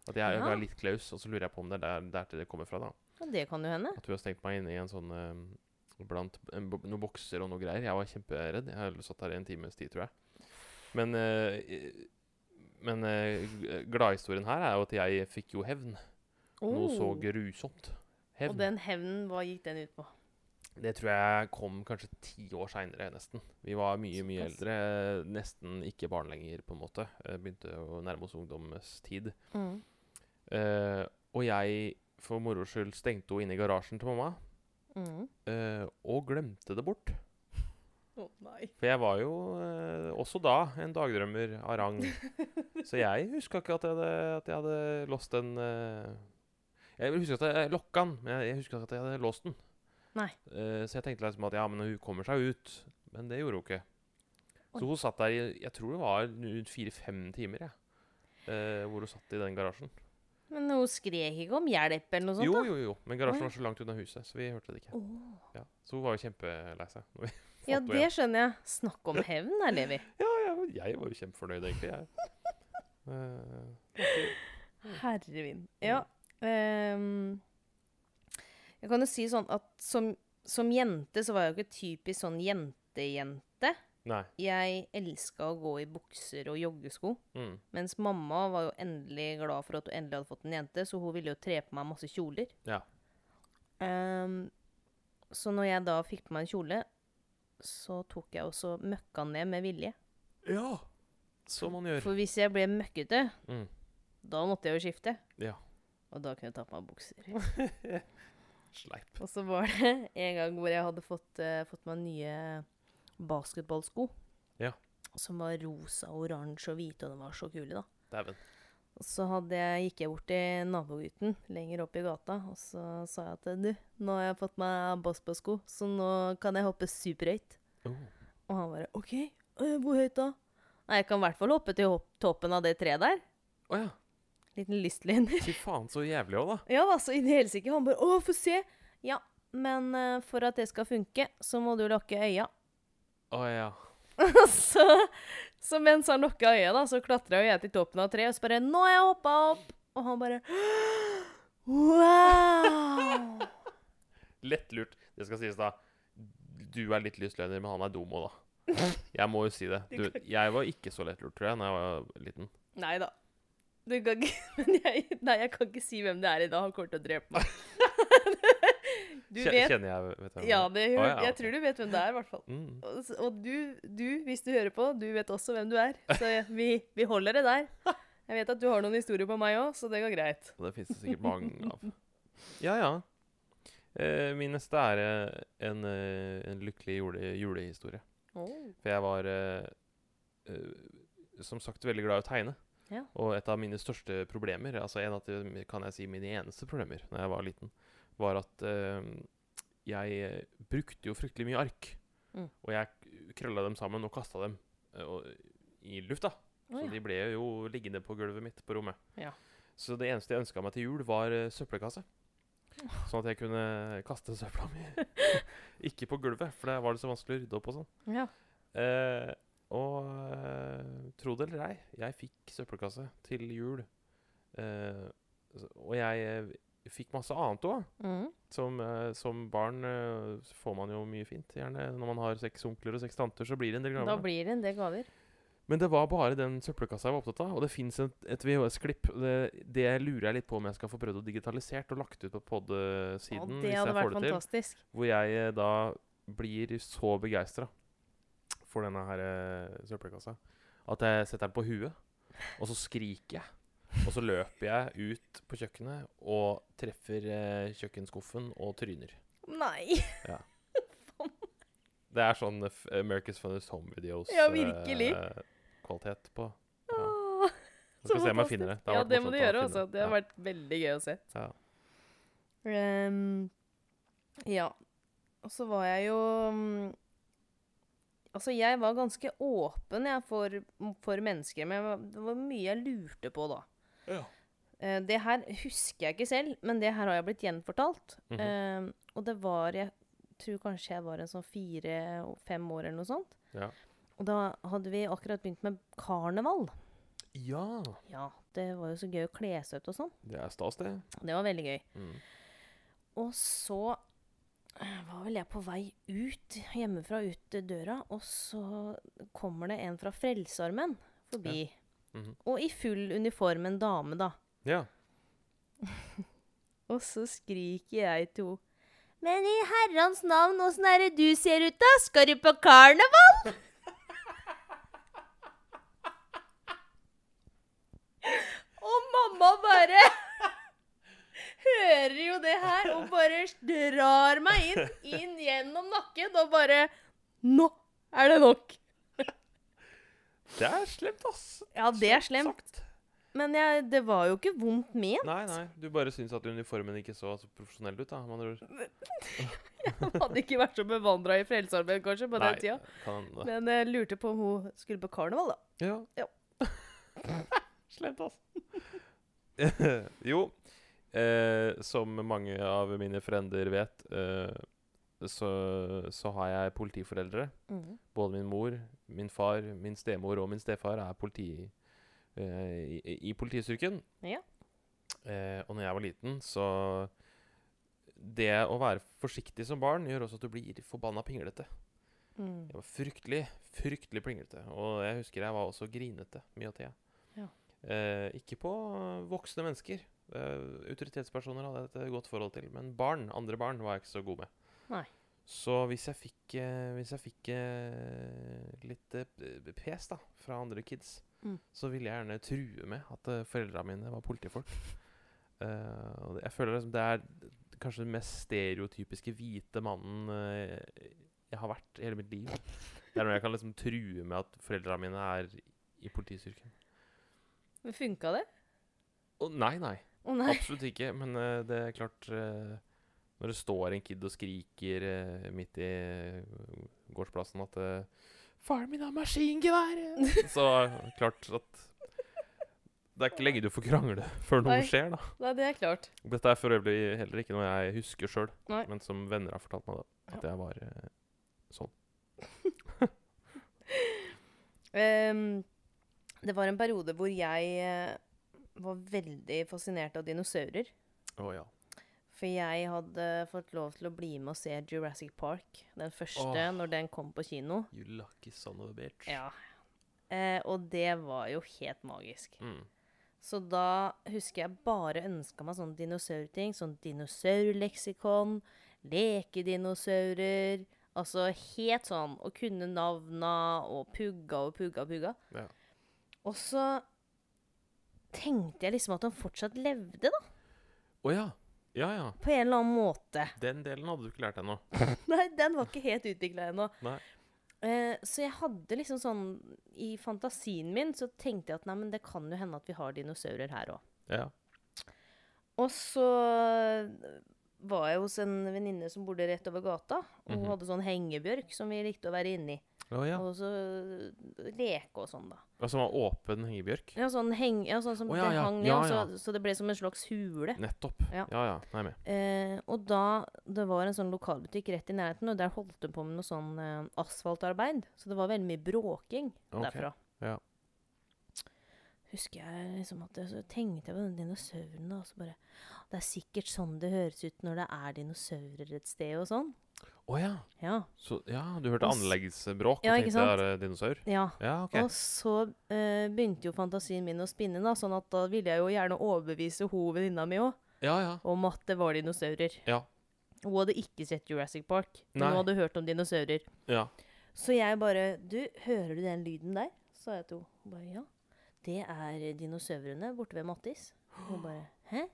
B: At jeg
C: Ja.
B: har litt klaus, og så lurer jeg på om det er der, der til det kommer fra. da.
C: Ja, det kan jo hende.
B: At hun har stengt meg inne i en sånn eh, blant en, bo- noen bokser og noe greier. Jeg var kjemperedd. Jeg har satt der i en times tid, tror jeg. Men, eh, i- men eh, g- gladhistorien her er jo at jeg fikk jo hevn. Noe så
C: Oh.
B: grusomt.
C: Og
B: Hevn.
C: den hevnen, hva gikk den ut på?
B: Det tror jeg kom kanskje ti år seinere, nesten. Vi var mye, mye
C: Såpass.
B: eldre. Nesten ikke barn lenger, på en måte. Eh, Begynte å nærme oss ungdommens tid.
C: Mm.
B: Eh, og jeg, for moro skyld, stengte henne inne i garasjen til mamma,
C: Mm.
B: eh, og glemte det bort.
C: Å nei.
B: For jeg var jo eh, også da en dagdrømmer av rang. Så jeg huska ikke at jeg hadde, at jeg hadde låst den eh, Jeg husker at jeg lokka den, men jeg, jeg husker ikke at jeg hadde låst den.
C: Nei.
B: Eh, så jeg tenkte liksom at ja, men hun kommer seg ut. Men det gjorde hun ikke. Så hun satt der i jeg tror det var rundt fire-fem timer, jeg. eh, hvor hun satt i den garasjen.
C: Men hun skrek ikke om hjelp eller noe sånt?
B: jo,
C: da?
B: jo, jo. Men
C: Å,
B: garasjen
C: ja.
B: var så langt unna huset, så vi hørte det ikke.
C: Åh.
B: Ja. Så hun var jo kjempelei seg. når vi fant
C: Ja,
B: henne
C: det skjønner jeg. Snakk om hevn, der, Levi.
B: Ja, jeg, var- jeg var jo kjempefornøyd, egentlig. Jeg. Eh,
C: Herrevin. Ja. ehm, jeg kan jo si sånn at som, som jente så var jeg jo ikke typisk sånn jente-jente.
B: nei.
C: Jeg elska å gå i bukser og joggesko.
B: Mm.
C: Mens mamma var jo endelig glad for at hun endelig hadde fått en jente, så hun ville jo tre på meg masse kjoler.
B: Ja.
C: Ehm, så når jeg da fikk på meg en kjole, så tok jeg også møkka ned med vilje.
B: Ja! Som man gjør.
C: For hvis jeg ble møkkete,
B: Mm.
C: da måtte jeg jo skifte.
B: Ja.
C: Og da kunne jeg ta på meg bukser.
B: Sleip.
C: Og så var det en gang hvor jeg hadde fått, eh, fått meg nye basketballsko.
B: Ja.
C: Som var rosa, oransje og hvite, og de var så kule, da.
B: Dæven.
C: Og så hadde jeg, gikk jeg bort til nabogutten lenger opp i gata, og så sa jeg at du, nå har jeg fått meg basketballsko, så nå kan jeg hoppe superhøyt.
B: Oh.
C: Og han bare OK, eh, hvor høyt da? Nei, jeg kan i hvert fall hoppe til hopp toppen av det treet der.
B: Å ja.
C: Liten lystliner.
B: Fy faen, så jævlig òg, da.
C: Ja da, så i det hele sikkert. Han bare Å, få se! Ja, men eh, for at det skal funke, så må du lukke øya.
B: Å ja.
C: Og så, så mens han lukka øya, da, så klatra jeg til toppen av treet og så bare 'Nå har jeg hoppa opp!' Og han bare Wow!
B: Lettlurt. Det skal sies, da. Du er litt lystløgner, men han er dum òg, da. Jeg må jo si det. Du, jeg var ikke så lettlurt, tror jeg, da jeg var liten.
C: Nei da. Du kan ikke Men jeg, nei, jeg kan ikke si hvem det er i dag. Han kommer til å drepe meg. Du
B: Kje-
C: vet
B: Kjenner jeg vet du hvem
C: Ja,
B: det
C: det,
B: Å, ja,
C: jeg
B: ok.
C: tror du vet hvem det er, i hvert fall.
B: er? Mm.
C: Og, s- og du, du, hvis du hører på, du vet også hvem du er. Så vi, vi holder det der. Jeg vet at du har noen historier på meg òg, så det går greit.
B: Og Det fins det sikkert mange av. Ja, ja. Eh, min neste er eh, en, eh, en lykkelig jule, julehistorie. For jeg var, eh, eh, som sagt, veldig glad i å tegne.
C: Ja.
B: Og et av mine største problemer, altså en av de, kan jeg si mine eneste problemer når jeg var liten, var at eh, jeg eh, brukte jo fryktelig mye ark.
C: Mm.
B: Og jeg k- krølla dem sammen og kasta dem eh, og, i lufta.
C: Å,
B: Så
C: ja.
B: Sånn de ble jo liggende på gulvet mitt på rommet.
C: Ja.
B: Så det eneste jeg ønska meg til jul, var eh, søppelkasse. Sånn at jeg kunne kaste søpla mi. Ikke på gulvet, for der var det så vanskelig å rydde opp og sånn.
C: Ja.
B: Eh, og eh, tro det eller ei, jeg fikk søppelkasse til jul. Eh, s- og jeg eh, fikk masse annet òg.
C: Mm.
B: Som, eh, som barn eh, så får man jo mye fint. gjerne Når man har seks onkler og seks tanter, så blir det en del
C: Da
B: gaver.
C: blir det en del gaver.
B: Men det var bare den søppelkassa jeg var opptatt av. Og det fins et, et VHS-klipp. Det, det lurer jeg litt på om jeg skal få prøvd å digitalisert og lagt ut på
C: Ja,
B: pod-siden.
C: det
B: hvis
C: hadde
B: jeg
C: vært
B: får det til.
C: fantastisk.
B: Hvor jeg eh, da blir så begeistra for denne her eh, søppelkassa at jeg setter den på huet, og så skriker jeg. Og så løper jeg ut på kjøkkenet og treffer eh, kjøkkenskuffen og tryner.
C: Nei!
B: Det er sånn eh, f- America's Funniest Home Videos
C: Ja, virkelig.
B: eh, kvalitet på. Ja.
C: Åh,
B: Jeg skal se
C: så
B: om jeg
C: fantastisk.
B: finner det. har
C: Ja,
B: vært
C: det må
B: morsomt
C: du
B: å
C: gjøre
B: finne
C: også. Det har vært veldig gøy å se.
B: ja.
C: Ehm, ja. Og så var jeg jo mm, Altså, jeg var ganske åpen jeg, for, for mennesker, men jeg var, det var mye jeg lurte på da.
B: Ja.
C: Eh, det her husker jeg ikke selv, men det her har jeg blitt gjenfortalt.
B: Mhm.
C: Ehm, og det var Jeg tror kanskje jeg var en sånn fire-fem år eller noe sånt.
B: Ja.
C: Og da hadde vi akkurat begynt med karneval.
B: Ja.
C: Ja, det var jo så gøy å kle seg ut og sånn.
B: Mhm. Det er stas, det.
C: Det var veldig gøy.
B: Mm.
C: Og så eh, var vel jeg på vei ut hjemmefra, ut eh, døra, og så kommer det en fra Frelsearmeen forbi.
B: Mhm.
C: Og i full uniform, en dame, da.
B: Ja.
C: Og så skriker jeg til henne. Men i herrens navn, åssen er det du ser ut, da? Skal du på karneval? og mamma bare hører jo det her og bare drar meg inn, inn gjennom nakken og bare Nå er det nok.
B: Det er slemt, ass.
C: Ja, det er slemt.
B: Sagt.
C: Men jeg, det var jo ikke vondt ment.
B: Nei, nei. Du bare syns at uniformen ikke så så profesjonell ut, da. med andre ord.
C: Hadde ikke vært så bevandra i frelsearbeid kanskje på
B: Nei,
C: den tida.
B: Kan hende.
C: Men jeg lurte på om hun skulle på karneval, da.
B: Ja.
C: Ja.
B: slemt, ass. jo, eh, som mange av mine frender vet, eh, så, så har jeg politiforeldre.
C: Mm.
B: Både min mor, min far, min stemor og min stefar er politi, eh, i, i politistyrken.
C: Ja.
B: Eh, og når jeg var liten, så Det å være forsiktig som barn gjør også at du blir forbanna pinglete.
C: Mm.
B: Jeg var fryktelig, fryktelig pinglete. Og jeg husker jeg var også grinete mye av tida.
C: Ja.
B: Eh, ikke på voksne mennesker. Eh, autoritetspersoner hadde jeg et godt forhold til. Men barn, andre barn var jeg ikke så god med.
C: Nei.
B: Så hvis jeg fikk, eh, hvis jeg fikk eh, litt eh, p- pes da, fra andre kids,
C: Mm.
B: så ville jeg gjerne true med at eh, foreldra mine var politifolk. Eh, og det- jeg føler liksom det er kanskje den mest stereotypiske hvite mannen eh, jeg har vært i hele mitt liv. Det er når jeg kan liksom true med at foreldra mine er i politistyrken.
C: Men funka det?
B: Og nei, nei.
C: Å nei.
B: Absolutt ikke. Men eh, det er klart eh, Når det står en kid og skriker eh, midt i eh, gårdsplassen at eh, 'Faren min har maskingevær!' Så er det klart at Det er ikke lenge du får krangle før noe
C: Nei.
B: skjer, da.
C: nei, det er klart.
B: Dette er for øvrig heller ikke noe jeg husker sjøl,
C: Nei.
B: men som venner har fortalt meg, da. At jeg var eh,
C: Ehm, det var en periode hvor jeg eh, var veldig fascinert av dinosaurer.
B: Å ja.
C: For jeg hadde fått lov til å bli med og se Jurassic Park, den første,
B: Åh.
C: når den kom på kino.
B: You lucky son of a bitch.
C: Ja. Eh, og det var jo helt magisk.
B: Mm.
C: Så da husker jeg bare ønska meg sånne dinosaurting. Sånn dinosaurleksikon, lekedinosarer Altså helt sånn. Og kunne navna og pugga og pugga og pugga.
B: Ja.
C: Og så tenkte jeg liksom at han fortsatt levde, da.
B: Å ja. Ja ja.
C: På en eller annen måte.
B: Den delen hadde du ikke lært ennå.
C: Nei, den var ikke helt utvikla ennå.
B: Nei.
C: Eh, så jeg hadde liksom sånn I fantasien min så tenkte jeg at nei, men det kan jo hende at vi har dinosaurer her òg.
B: Ja.
C: Og så eh, var jeg hos en venninne som bodde rett over gata. Og hun
B: Mhm.
C: hadde sånn hengebjørk som vi likte å være inni.
B: Å ja.
C: Og så leke og sånn, da.
B: Og som var åpen hengebjørk?
C: Ja, sånn, heng, ja, sånn som
B: Å, ja,
C: det
B: ja.
C: hang ned,
B: Ja,
C: og
B: ja.
C: Så, så det ble som en slags hule.
B: Nettopp.
C: Ja.
B: Ja ja, nei med.
C: Eh, og da det var en sånn lokalbutikk rett i nærheten, og der holdt de på med noe sånn eh, asfaltarbeid. Så det var veldig mye bråking
B: Ok,
C: derfra.
B: ja.
C: Husker jeg liksom at jeg, så tenkte jeg på den dinosauren, da, og så bare Det er sikkert sånn det høres ut når det er dinosaurer et sted og sånn.
B: Å ja.
C: Ja.
B: Så, ja, du hørte
C: Og s-
B: anleggsbråk
C: Ja,
B: og
C: ikke
B: tenkte
C: sant?
B: det er eh, dinosaur?
C: ja.
B: Ja, OK.
C: Og så eh, begynte jo fantasien min å spinne, da, sånn at da ville jeg jo gjerne overbevise hun venninna mi òg
B: Ja ja.
C: om at det var dinosaurer.
B: Ja.
C: Hun hadde ikke sett Jurassic Park, men
B: Nei.
C: hun hadde hørt om dinosaurer.
B: Ja.
C: Så jeg bare Du, hører du den lyden der? sa jeg til henne. Hun bare ja. Det er dinosaurene borte ved Mattis. Hun bare hæ?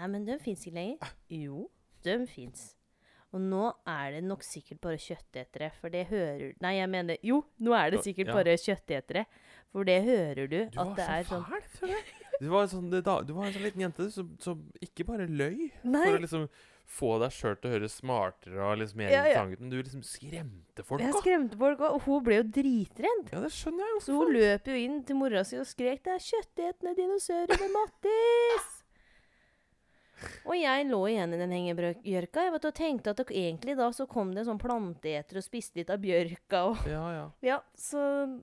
C: Nei, men de fins ikke lenger. Jo, de fins. Og nå er det nok sikkert bare kjøttetere, for det hører Nei, jeg mener Jo, nå er det sikkert
B: Ja.
C: bare kjøttetere, for det hører du,
B: Du
C: at
B: var
C: det er
B: så
C: sånn
B: fæl, føler jeg. Du var, en sånn, det da, du var en sånn liten jente som, som ikke bare løy
C: Nei,
B: for å liksom få deg sjøl til å høre smartere og liksom mer
C: Ja, ja.
B: interessant ut, men du liksom skremte folk
C: jeg
B: òg.
C: skremte folk òg, og hun ble jo dritredd.
B: Ja, det skjønner jeg.
C: Så hun løp jo inn til mora si og skrek 'Det er kjøttetende dinosaurer ved Mattis!' Og jeg lå igjen i den hengebjørka jeg vet, og tenkte at det, egentlig da så kom det en sånn planteeter og spiste litt av bjørka og
B: Ja, ja.
C: Ja, så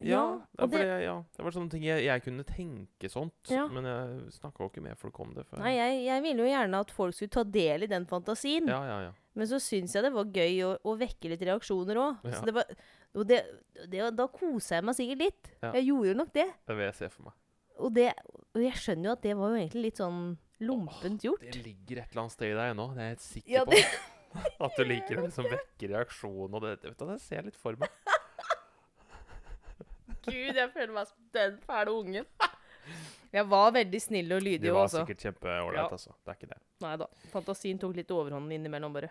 B: Ja, det, er
C: og
B: fordi
C: det,
B: jeg- ja. det var sånne ting jeg, jeg kunne tenke sånt,
C: Ja.
B: men jeg snakka jo ikke med folk om det. før.
C: Nei, jeg, jeg ville jo gjerne at folk skulle ta del i den fantasien.
B: Ja, ja, ja.
C: Men så syns jeg det var gøy å, å vekke litt reaksjoner òg.
B: Ja.
C: det, det, da kosa jeg meg sikkert litt.
B: Ja.
C: Jeg gjorde jo nok det.
B: Det vil jeg se for meg.
C: Og, det. og jeg skjønner jo at det var jo egentlig litt sånn lompent gjort.
B: Det ligger et eller annet sted i deg ennå, det er jeg helt sikker
C: Ja,
B: på. At du liker å liksom vekke reaksjon og det. Vet du, det ser jeg litt for meg.
C: Gud, jeg føler meg som den fæle ungen. Jeg var veldig snill og
B: Du
C: lydig
B: var
C: også.
B: sikkert kjempeålreit,
C: Ja.
B: altså. Det er ikke det.
C: Nei da. Fantasien tok litt overhånden innimellom, bare.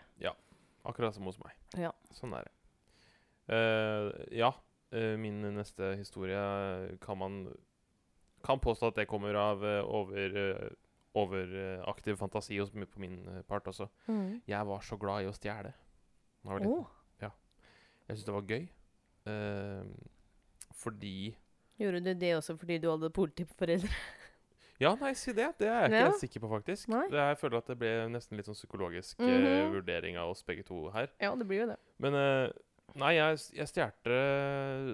B: Akkurat som hos meg.
C: Ja.
B: Sånn er det. Eh, ja, eh, min neste historie eh, kan man kan påstå at det kommer av eh, over eh, overaktiv fantasi hos, på min eh, part også.
C: Mm.
B: Jeg var så glad i å stjele. da jeg var liten.
C: Å,
B: Jeg syntes det var gøy. eh, fordi
C: gjorde du det også fordi du hadde politiforeldre?
B: Ja, nei, si det. Det er jeg ikke
C: Ja.
B: helt sikker på, faktisk.
C: Nei.
B: Det, jeg føler at det ble nesten litt sånn psykologisk eh,
C: Mhm.
B: vurdering av oss begge to her.
C: Ja, det blir jo det.
B: Men eh, nei, jeg, jeg stjerte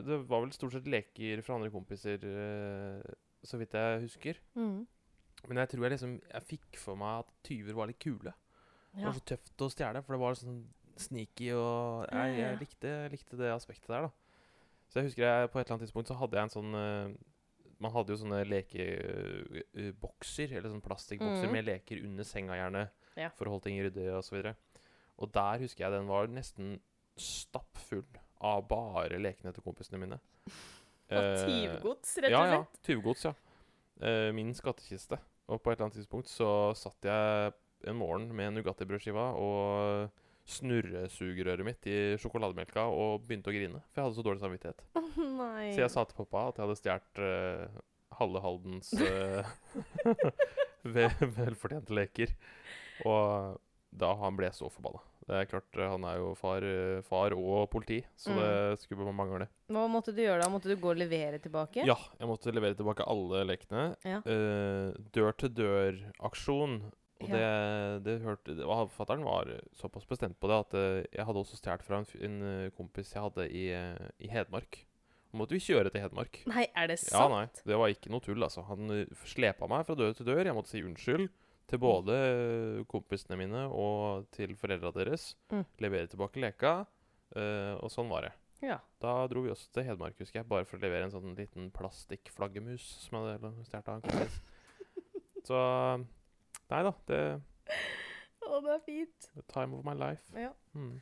B: Det var vel stort sett leker fra andre kompiser, eh, så vidt jeg husker.
C: Mm.
B: Men jeg tror jeg liksom Jeg fikk for meg at tyver var litt kule. Det
C: Ja.
B: var så tøft å stjele, for det var sånn sneaky og
C: Ja,
B: Jeg,
C: ja, ja.
B: jeg likte, likte det aspektet der, da. Så jeg husker jeg på et eller annet tidspunkt så hadde jeg en sånn eh, Man hadde jo sånne lekebokser, eller sånne plastikkbokser
C: Mhm.
B: med leker under senga, gjerne,
C: Ja.
B: for å holde ting ryddig og så videre. Og der husker jeg den var nesten stappfull av bare lekene til kompisene mine. Eh,
C: Tyvgods, rett
B: ja,
C: og
B: ja.
C: slett.
B: Tyvgods, ja. Eh, min skattkiste. Og på et eller annet tidspunkt så satt jeg en morgen med Nugatti-brødskiva og snurresugerøret mitt i sjokolademelka og begynte å grine, for jeg hadde så dårlig samvittighet.
C: Nei.
B: Så jeg sa til pappa at jeg hadde stjålet eh, halve Haldens eh, vel, velfortjente leker. Og da han ble så forbanna. Det er klart, eh, han er jo far, eh, far og politi,
C: Mm.
B: så det skulle man mangle.
C: Hva måtte du gjøre da? Måtte du gå og levere tilbake?
B: Ja, jeg måtte levere tilbake alle lekene.
C: Ja.
B: Eh, Dør-til-dør-aksjon. Og
C: Ja.
B: det, det hørte det var, Fatteren var såpass bestemt på det at eh, jeg hadde også stjålet fra en, f- en eh, kompis jeg hadde i, eh, i Hedmark. Da måtte vi kjøre til Hedmark.
C: Nei, er det
B: Ja,
C: sant?
B: nei, Det var ikke noe tull, altså. Han eh, slepa meg fra dør til dør. Jeg måtte si unnskyld til både eh, kompisene mine og til foreldra deres.
C: Mm.
B: Levere tilbake leka. eh, og sånn var det.
C: Ja.
B: Da dro vi også til Hedmark, husker jeg, bare for å levere en sånn liten plastikkflaggermus som jeg hadde stjålet av en kompis. Så Nei da. Det
C: Å, det er fint.
B: the time of my life.
C: Ja.
B: Mm.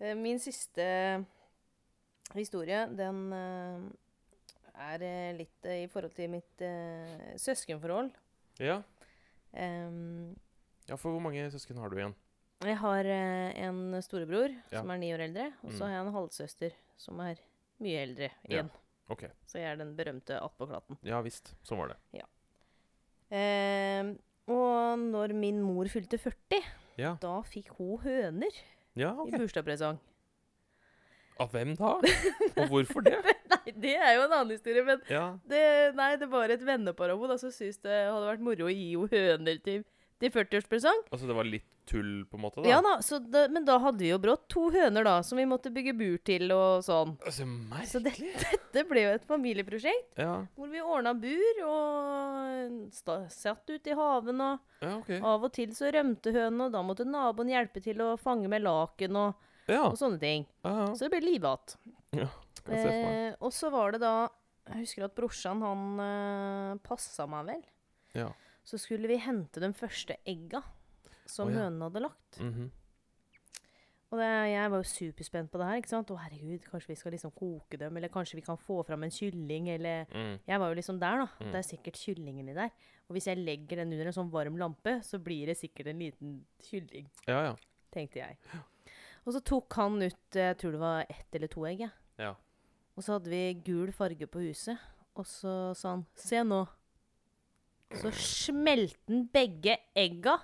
C: Eh, Min siste historie, den eh, er eh, litt eh, i forhold til mitt eh, søskenforhold.
B: Ja.
C: Em,
B: ja, for hvor mange søsken har du igjen?
C: Jeg har eh, en storebror
B: Ja.
C: som er ni år eldre, og så
B: Mm.
C: har jeg en halvsøster som er mye eldre
B: Ja.
C: igjen.
B: OK.
C: Så jeg er den berømte attpåklatten.
B: Ja visst. Sånn var det.
C: Eh, og når min mor fylte 40,
B: Ja.
C: da fikk hun høner
B: Ja, OK.
C: i bursdagspresang.
B: Av hvem da? Og hvorfor det?
C: Nei, det er jo en annen historie, men
B: Ja.
C: det, nei, det var et vennepar av henne da, som syntes det hadde vært moro å gi henne høner til, til 40-årspresang.
B: Altså det var litt tull, på en måte? da?
C: Ja da, så da, men da hadde vi jo brått to høner da, som vi måtte bygge bur til og sånn.
B: Altså,
C: Så
B: merkelig.
C: dette, dette ble jo et familieprosjekt,
B: Ja.
C: hvor vi ordna bur og sta, satt ute i haven. Og
B: ja, OK.
C: av og til så rømte hønene, og da måtte naboen hjelpe til å fange med laken og,
B: Ja.
C: og sånne ting.
B: ja, ja.
C: Så det ble liv igjen.
B: Kan jeg se for meg.
C: Eh, og så var det da Jeg husker at brorsan, han eh, passa meg vel.
B: Ja.
C: Så skulle vi hente de første egga som
B: Å, ja.
C: hønene hadde lagt.
B: Mhm.
C: Og det, jeg var jo superspent på det her. ikke sant? Å herregud, kanskje vi skal liksom koke dem, eller kanskje vi kan få fram en kylling, eller
B: mm.
C: Jeg var jo liksom der, da.
B: Mm.
C: Det er sikkert kyllingen i der. Og hvis jeg legger den under en sånn varm lampe, så blir det sikkert en liten kylling,
B: Ja, ja.
C: tenkte jeg. Og så tok han ut eh, jeg tror det var ett eller to egg. jeg.
B: Ja.
C: Og så hadde vi gul farge på huset. Og så sa han 'se nå'. Så smelte han begge egga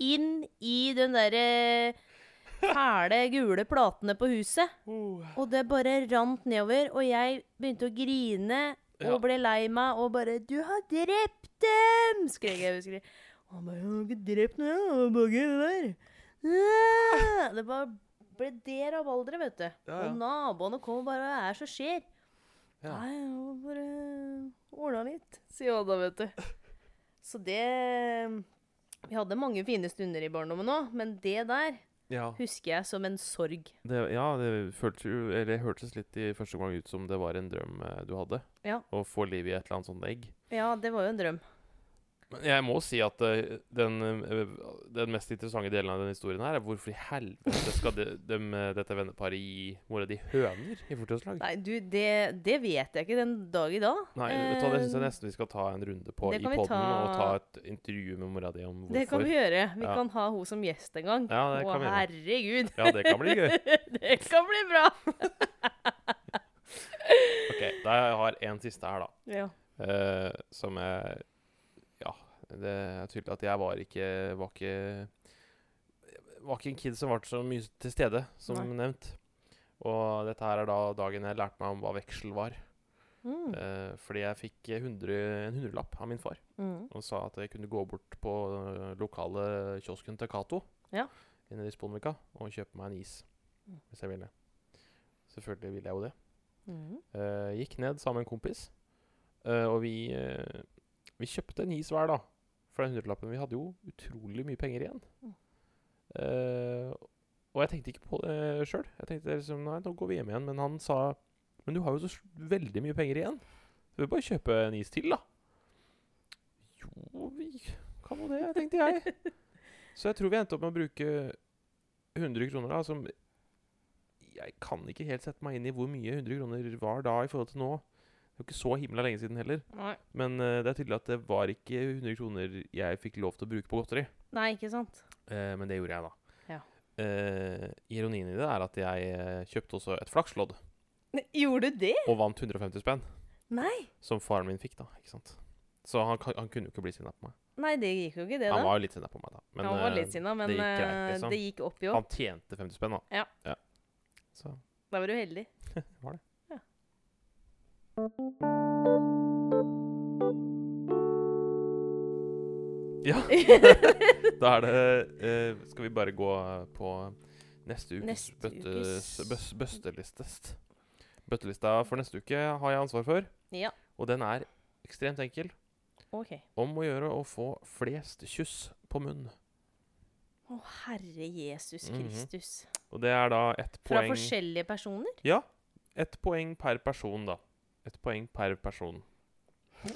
C: inn i den derre fæle, gule platene på huset.
B: Oh,
C: Og det bare rant nedover, og jeg begynte å grine og
B: Ja.
C: ble lei meg og bare 'Du har drept dem!' skrek jeg. husker jeg. Og han bare 'Jeg har ikke drept noen, jeg har bare det der'. Ah! Det bare ble det rabalderet, vet du.
B: Ja, ja.
C: Og naboene kom og bare 'Hva er det som skjer?'
B: Ja.
C: Nei, jeg må bare ordna litt, sier han da, vet du. Så det Vi hadde mange fine stunder i barndommen òg, men det der
B: ja.
C: husker jeg som en sorg.
B: Det, ja, det føltes, jo, eller det hørtes litt i første gang ut som det var en drøm eh, du hadde.
C: Ja.
B: Å få liv i et eller annet sånt egg.
C: Ja, det var jo en drøm.
B: Men jeg må si at eh, den, eh, den mest interessante delen av denne historien her er hvorfor i helvete skal de, dem, eh, dette venneparet gi mora di høner i fortidslag?
C: Nei, du, det, det vet jeg ikke den dag i dag.
B: Nei, vet du hva, det syns jeg
C: Eh,
B: nesten vi skal ta en runde på i
C: det kan vi
B: poden, og ta
C: ta-
B: et intervju med mora di om hvorfor.
C: Eh, Det kan vi gjøre. Vi
B: Ja.
C: kan ha henne som gjest en gang.
B: Ja, det
C: Å,
B: kan vi gjøre.
C: herregud.
B: Ja, det kan bli gøy.
C: det kan bli bra.
B: Ok, da har jeg en siste her, da.
C: Ja.
B: eh, som jeg Ja, det er tydelig at jeg var ikke Var ikke Var ikke en kid som var så mye til stede, som nevnt. Og dette her er da dagen jeg lærte meg om hva veksel var.
C: Mm.
B: Eh, fordi jeg fikk 100, en hundrelapp av min far
C: Mm.
B: og sa at jeg kunne gå bort på øh, lokale kiosken til Cato
C: Ja.
B: inne i Sponvika og kjøpe meg en is
C: Mm.
B: hvis jeg ville. Selvfølgelig ville jeg jo det.
C: Mm.
B: Eh, gikk ned sammen med en kompis, eh, og vi, eh, vi kjøpte en is hver, da. For den hundrelappen vi hadde jo utrolig mye penger igjen.
C: Mm.
B: Eh, og jeg tenkte ikke på det sjøl. Jeg tenkte liksom nei, nå går vi hjem igjen. Men han sa men du har jo så s- veldig mye penger igjen. Du vil bare kjøpe en is til, da. Jo, vi kan jo det, tenkte jeg. Så jeg tror vi endte opp med å bruke 100 kroner, da, som jeg kan ikke helt sette meg inn i hvor mye 100 kroner var da i forhold til nå. Det er jo ikke så himla lenge siden heller.
C: Nei.
B: Men eh, det er tydelig at det var ikke 100 kroner jeg fikk lov til å bruke på godteri.
C: Nei, ikke sant?
B: Eh, men det gjorde jeg, da.
C: Ja.
B: Eh, ironien i det er at jeg eh, kjøpte også et flakslodd
C: Gjorde du det?
B: og vant 150 spenn.
C: Nei.
B: Som faren min fikk, da. ikke sant? Så han, kan- han kunne jo ikke bli sinna på meg.
C: Nei, det gikk jo ikke, det, da.
B: han var jo litt sinna på meg, da. Men,
C: han var
B: eh,
C: litt sinna, men
B: det gikk greit,
C: eh,
B: liksom.
C: det gikk opp i år.
B: han tjente 50 spenn, da.
C: Ja.
B: Så
C: Da var du heldig.
B: var det.
C: Ja.
B: Ja. Da er det eh, Skal vi bare gå på neste ukes,
C: Neste
B: bøttes,
C: ukes-
B: bøs, bøstelistest. Bøttelista for neste uke har jeg ansvar for,
C: ja,
B: og den er ekstremt enkel.
C: OK.
B: Om å gjøre å få flest kyss på munn.
C: Å, herre Jesus
B: Mhm.
C: Kristus.
B: Og det er da ett
C: Fra
B: poeng
C: forskjellige personer?
B: Ja. Ett poeng per person, da. Ett poeng per person.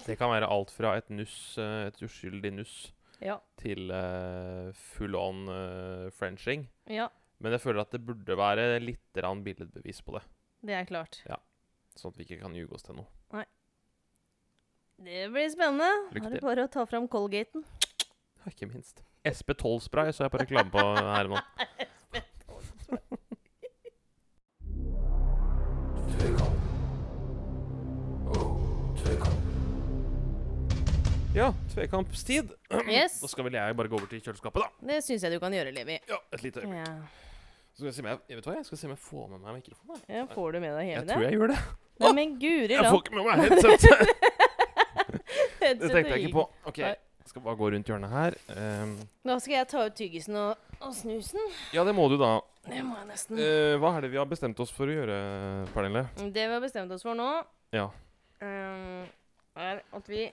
B: Det kan være alt fra et nuss, eh, et uskyldig nuss,
C: Ja.
B: til eh, full on eh, frenching.
C: ja.
B: Men jeg føler at det burde være litt grann billedbevis på det,
C: Det er klart.
B: sånn at vi ikke kan ljuge oss til noe.
C: Det blir spennende.
B: Lykke
C: Da er det
B: til.
C: bare å ta fram Colgaten.
B: Ja, Ikke minst. SP12-spray så jeg på reklame på her nå. Ja, tvekampstid.
C: Yes.
B: Da skal vel jeg bare gå over til kjøleskapet, da.
C: Det syns jeg du kan gjøre, Levi.
B: Ja, et lite øyeblikk.
C: Ja.
B: Så skal jeg, se om jeg, jeg vet hva, jeg skal se om jeg får med meg mikrofonen. jeg.
C: ja, Får du med deg hele
B: Jeg
C: det?
B: tror jeg gjør det.
C: Nei, men guri
B: Jeg
C: land.
B: får ikke med meg headsetet. Det
C: Headsetet
B: tenkte jeg
C: gikk.
B: ikke på. OK,
C: Nei.
B: jeg skal bare gå rundt hjørnet her. Ehm,
C: Nå skal jeg ta ut tyggisen og, og snusen.
B: ja, det må du, da.
C: Det må jeg nesten.
B: Eh, hva er det vi har bestemt oss for å gjøre, Pernille?
C: Det vi har bestemt oss for nå,
B: Ja.
C: eh, er at vi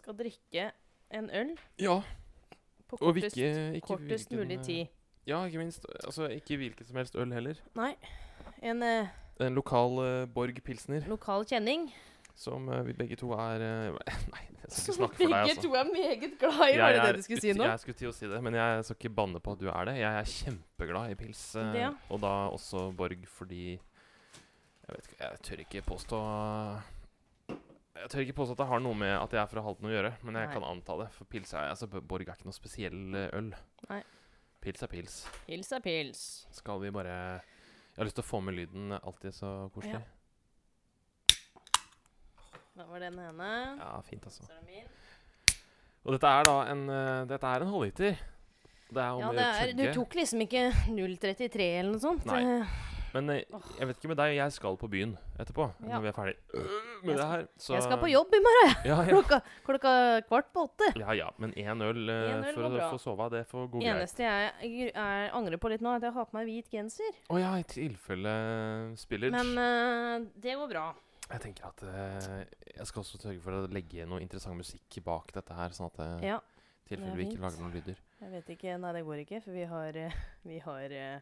C: skal drikke en øl
B: Ja,
C: på
B: og
C: kortest,
B: ikke, ikke
C: kortest
B: hvilken,
C: mulig
B: eh,
C: tid.
B: Ja, ikke minst. Altså, ikke hvilken som helst øl heller.
C: Nei. En eh,
B: En lokal eh, Borg Pilsner,
C: lokal kjenning.
B: som eh, vi begge to er eh, Nei, jeg skal ikke
C: Som
B: snakke for deg,
C: begge
B: altså.
C: to er meget glad i, var det det du skulle si nå?
B: Jeg skulle til å si det, men jeg skal ikke banne på at du er det. Jeg er kjempeglad i pils, eh,
C: Det, ja.
B: og da også Borg, fordi jeg, vet ikke, jeg tør ikke påstå Jeg tør ikke påstå at det har noe med at jeg er fra Halden å gjøre, men jeg
C: Nei.
B: kan anta det. For pils er, altså, Borg er ikke noe spesiell eh, øl.
C: Nei.
B: Pils er pils.
C: Pils er pils.
B: Skal vi bare Jeg har lyst til å få med lyden. eh, Alltid så koselig.
C: Ja. Da var den ene.
B: Ja, fint, altså.
C: Så er det min.
B: Og dette er da en, eh, dette er en halvliter. Det er om
C: Ja,
B: å
C: det
B: gjøre å
C: er, du
B: chugge.
C: tok liksom ikke 0,33 eller noe sånt.
B: Nei.
C: Eh,
B: Men eh, jeg vet ikke med deg, jeg skal på byen etterpå.
C: Ja.
B: Når vi er ferdig Øh, med
C: Jeg
B: det
C: skal-
B: her. så-
C: Jeg skal på jobb i morgen
B: Ja, ja.
C: klokka, klokka kvart på åtte.
B: ja, ja. Men én øl eh,
C: En øl
B: for
C: går
B: å
C: bra.
B: få sove, det får gå greit.
C: Eneste jeg gr- er, angrer på litt nå, er at jeg har på meg hvit genser.
B: Å ja, i tilfelle spiller.
C: Men eh, det går bra.
B: jeg tenker at eh, jeg skal også sørge for å legge noe interessant musikk bak dette her, sånn at eh,
C: Ja.
B: i tilfelle
C: det er
B: vi ikke
C: fint.
B: lager noen lyder.
C: Jeg vet ikke. Nei, det går ikke, for vi har, eh, vi har eh,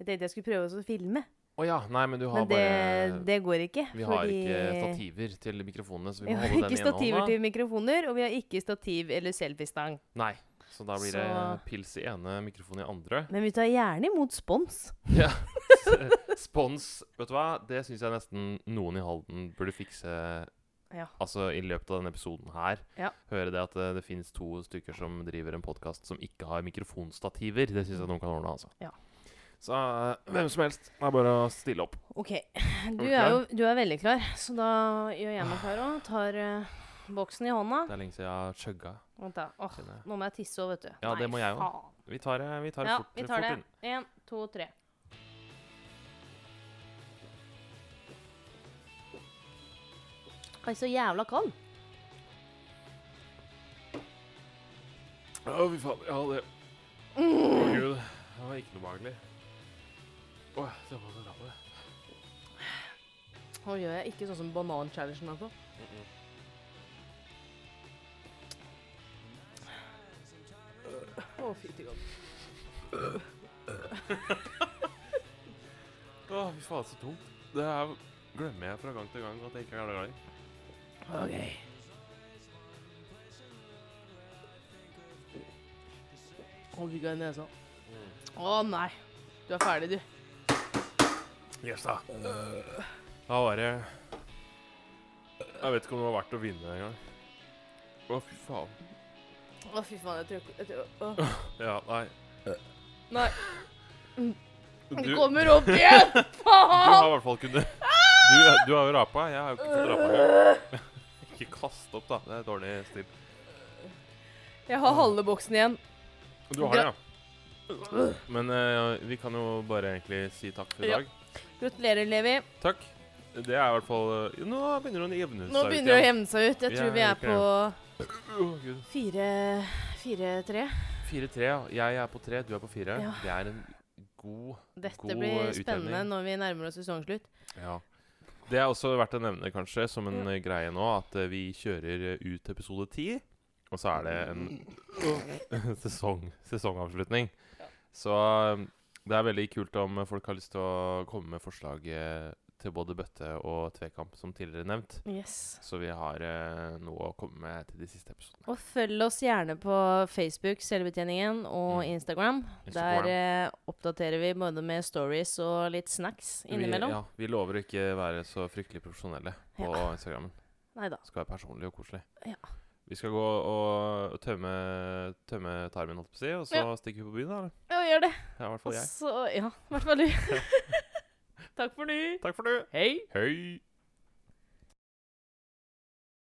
C: Jeg tenkte jeg skulle prøve også å filme,
B: Å ja. Nei, men du har
C: Men det,
B: bare
C: det går ikke.
B: Vi har
C: fordi-
B: ikke stativer til mikrofonene, så vi
C: Vi
B: må
C: har
B: holde den
C: ikke
B: i ene
C: stativer
B: hånda.
C: til mikrofoner, og vi har ikke stativ eller selfiestang.
B: Nei. Så da blir
C: Så-
B: det pils i ene, mikrofon i andre.
C: Men vi tar gjerne imot spons.
B: Ja. Spons. Vet du hva? Det syns jeg nesten noen i Halden burde fikse
C: Ja.
B: altså i løpet av denne episoden her.
C: Ja.
B: Høre det at eh, det finnes to stykker som driver en podkast som ikke har mikrofonstativer. Det syns jeg noen kan ordne, altså.
C: Ja.
B: Så eh, hvem som helst. Det er bare å stille opp.
C: OK. Du
B: du
C: er jo
B: klar?
C: du er veldig klar, så da gjør jeg meg klar òg. Tar eh, boksen i hånda.
B: Det er lenge siden jeg har chugga.
C: Vent, da. Åh,
B: kjenner jeg.
C: nå må jeg tisse òg, vet du.
B: Ja, det må jeg også.
C: faen.
B: Vi tar det, vi tar det
C: Ja,
B: fort,
C: vi tar
B: fort
C: det.
B: inn.
C: Én, to, tre. Oi, så jævla kald.
B: Å, fy faen. Ja, det
C: Mm.
B: Å, gud. Det var ikke noe behagelig. Å, det var så rart.
C: Nå gjør jeg ikke sånn som banan-challengen. Altså. Å, fytti katt.
B: Å, fy faen, så tungt. Det her glemmer jeg fra gang til gang at jeg ikke er glad i.
C: OK. Å, fikk jeg i nesa. Mm. Å nei. Du er ferdig, du.
B: Yes, da.
C: Eh.
B: Da var det Jeg vet ikke om det var verdt å vinne engang. Å, fy faen.
C: Å, fy faen, jeg tror ikke jeg tror- å.
B: Ja, nei.
C: Nei,
B: Du,
C: det
B: du har
C: kommer opp igjen! Faen!
B: i hvert fall kunnet du, du har jo rapa. Jeg har jo ikke fått rapa. Ikke kast opp, da. Det er dårlig stil.
C: Jeg har halve boksen igjen.
B: Du har det, ja. Men eh, vi kan jo bare egentlig si takk for i
C: Ja.
B: dag.
C: Gratulerer, Levi.
B: Takk. Det er i hvert fall eh, Nå begynner det å jevne seg
C: Nå begynner det å
B: igjen.
C: jevne seg ut. Jeg tror
B: Jeg
C: vi er
B: liker
C: på
B: Å, Gud.
C: fire- fire-tre.
B: 4-3. ja. Jeg er på 3, du er på 4.
C: Ja.
B: Det er en god
C: Dette
B: God
C: blir
B: uttelling.
C: spennende når vi nærmer oss sesongslutt.
B: Ja. Det er også verdt å nevne kanskje som en eh, greie nå at eh, vi kjører eh, ut episode 10, og så er det en sesong, sesongavslutning.
C: Ja.
B: Så eh, det er veldig kult om eh, folk har lyst til å komme med forslag eh, til både bøtte og tvekamp, som tidligere nevnt.
C: Yes.
B: Så vi har eh, noe å komme med til de siste episodene.
C: Og følg oss gjerne på Facebook, Selvbetjeningen, og
B: Mm.
C: Instagram.
B: Instagram.
C: Der eh, oppdaterer vi både med stories og litt snacks
B: Vi,
C: eh, innimellom.
B: ja, vi lover å ikke være så fryktelig profesjonelle på
C: Ja.
B: Instagram.
C: Neida.
B: Det skal være personlig og koselig.
C: Ja.
B: Vi skal gå og tømme, tømme tarmen, holdt på å si, og så
C: Ja.
B: stikker vi på byen, da. eller?
C: Ja, gjør det.
B: Ja, i hvert
C: Og
B: fall jeg.
C: så Ja, i hvert fall du. Takk for nå.
B: Takk for det.
C: Hei.
B: Hei.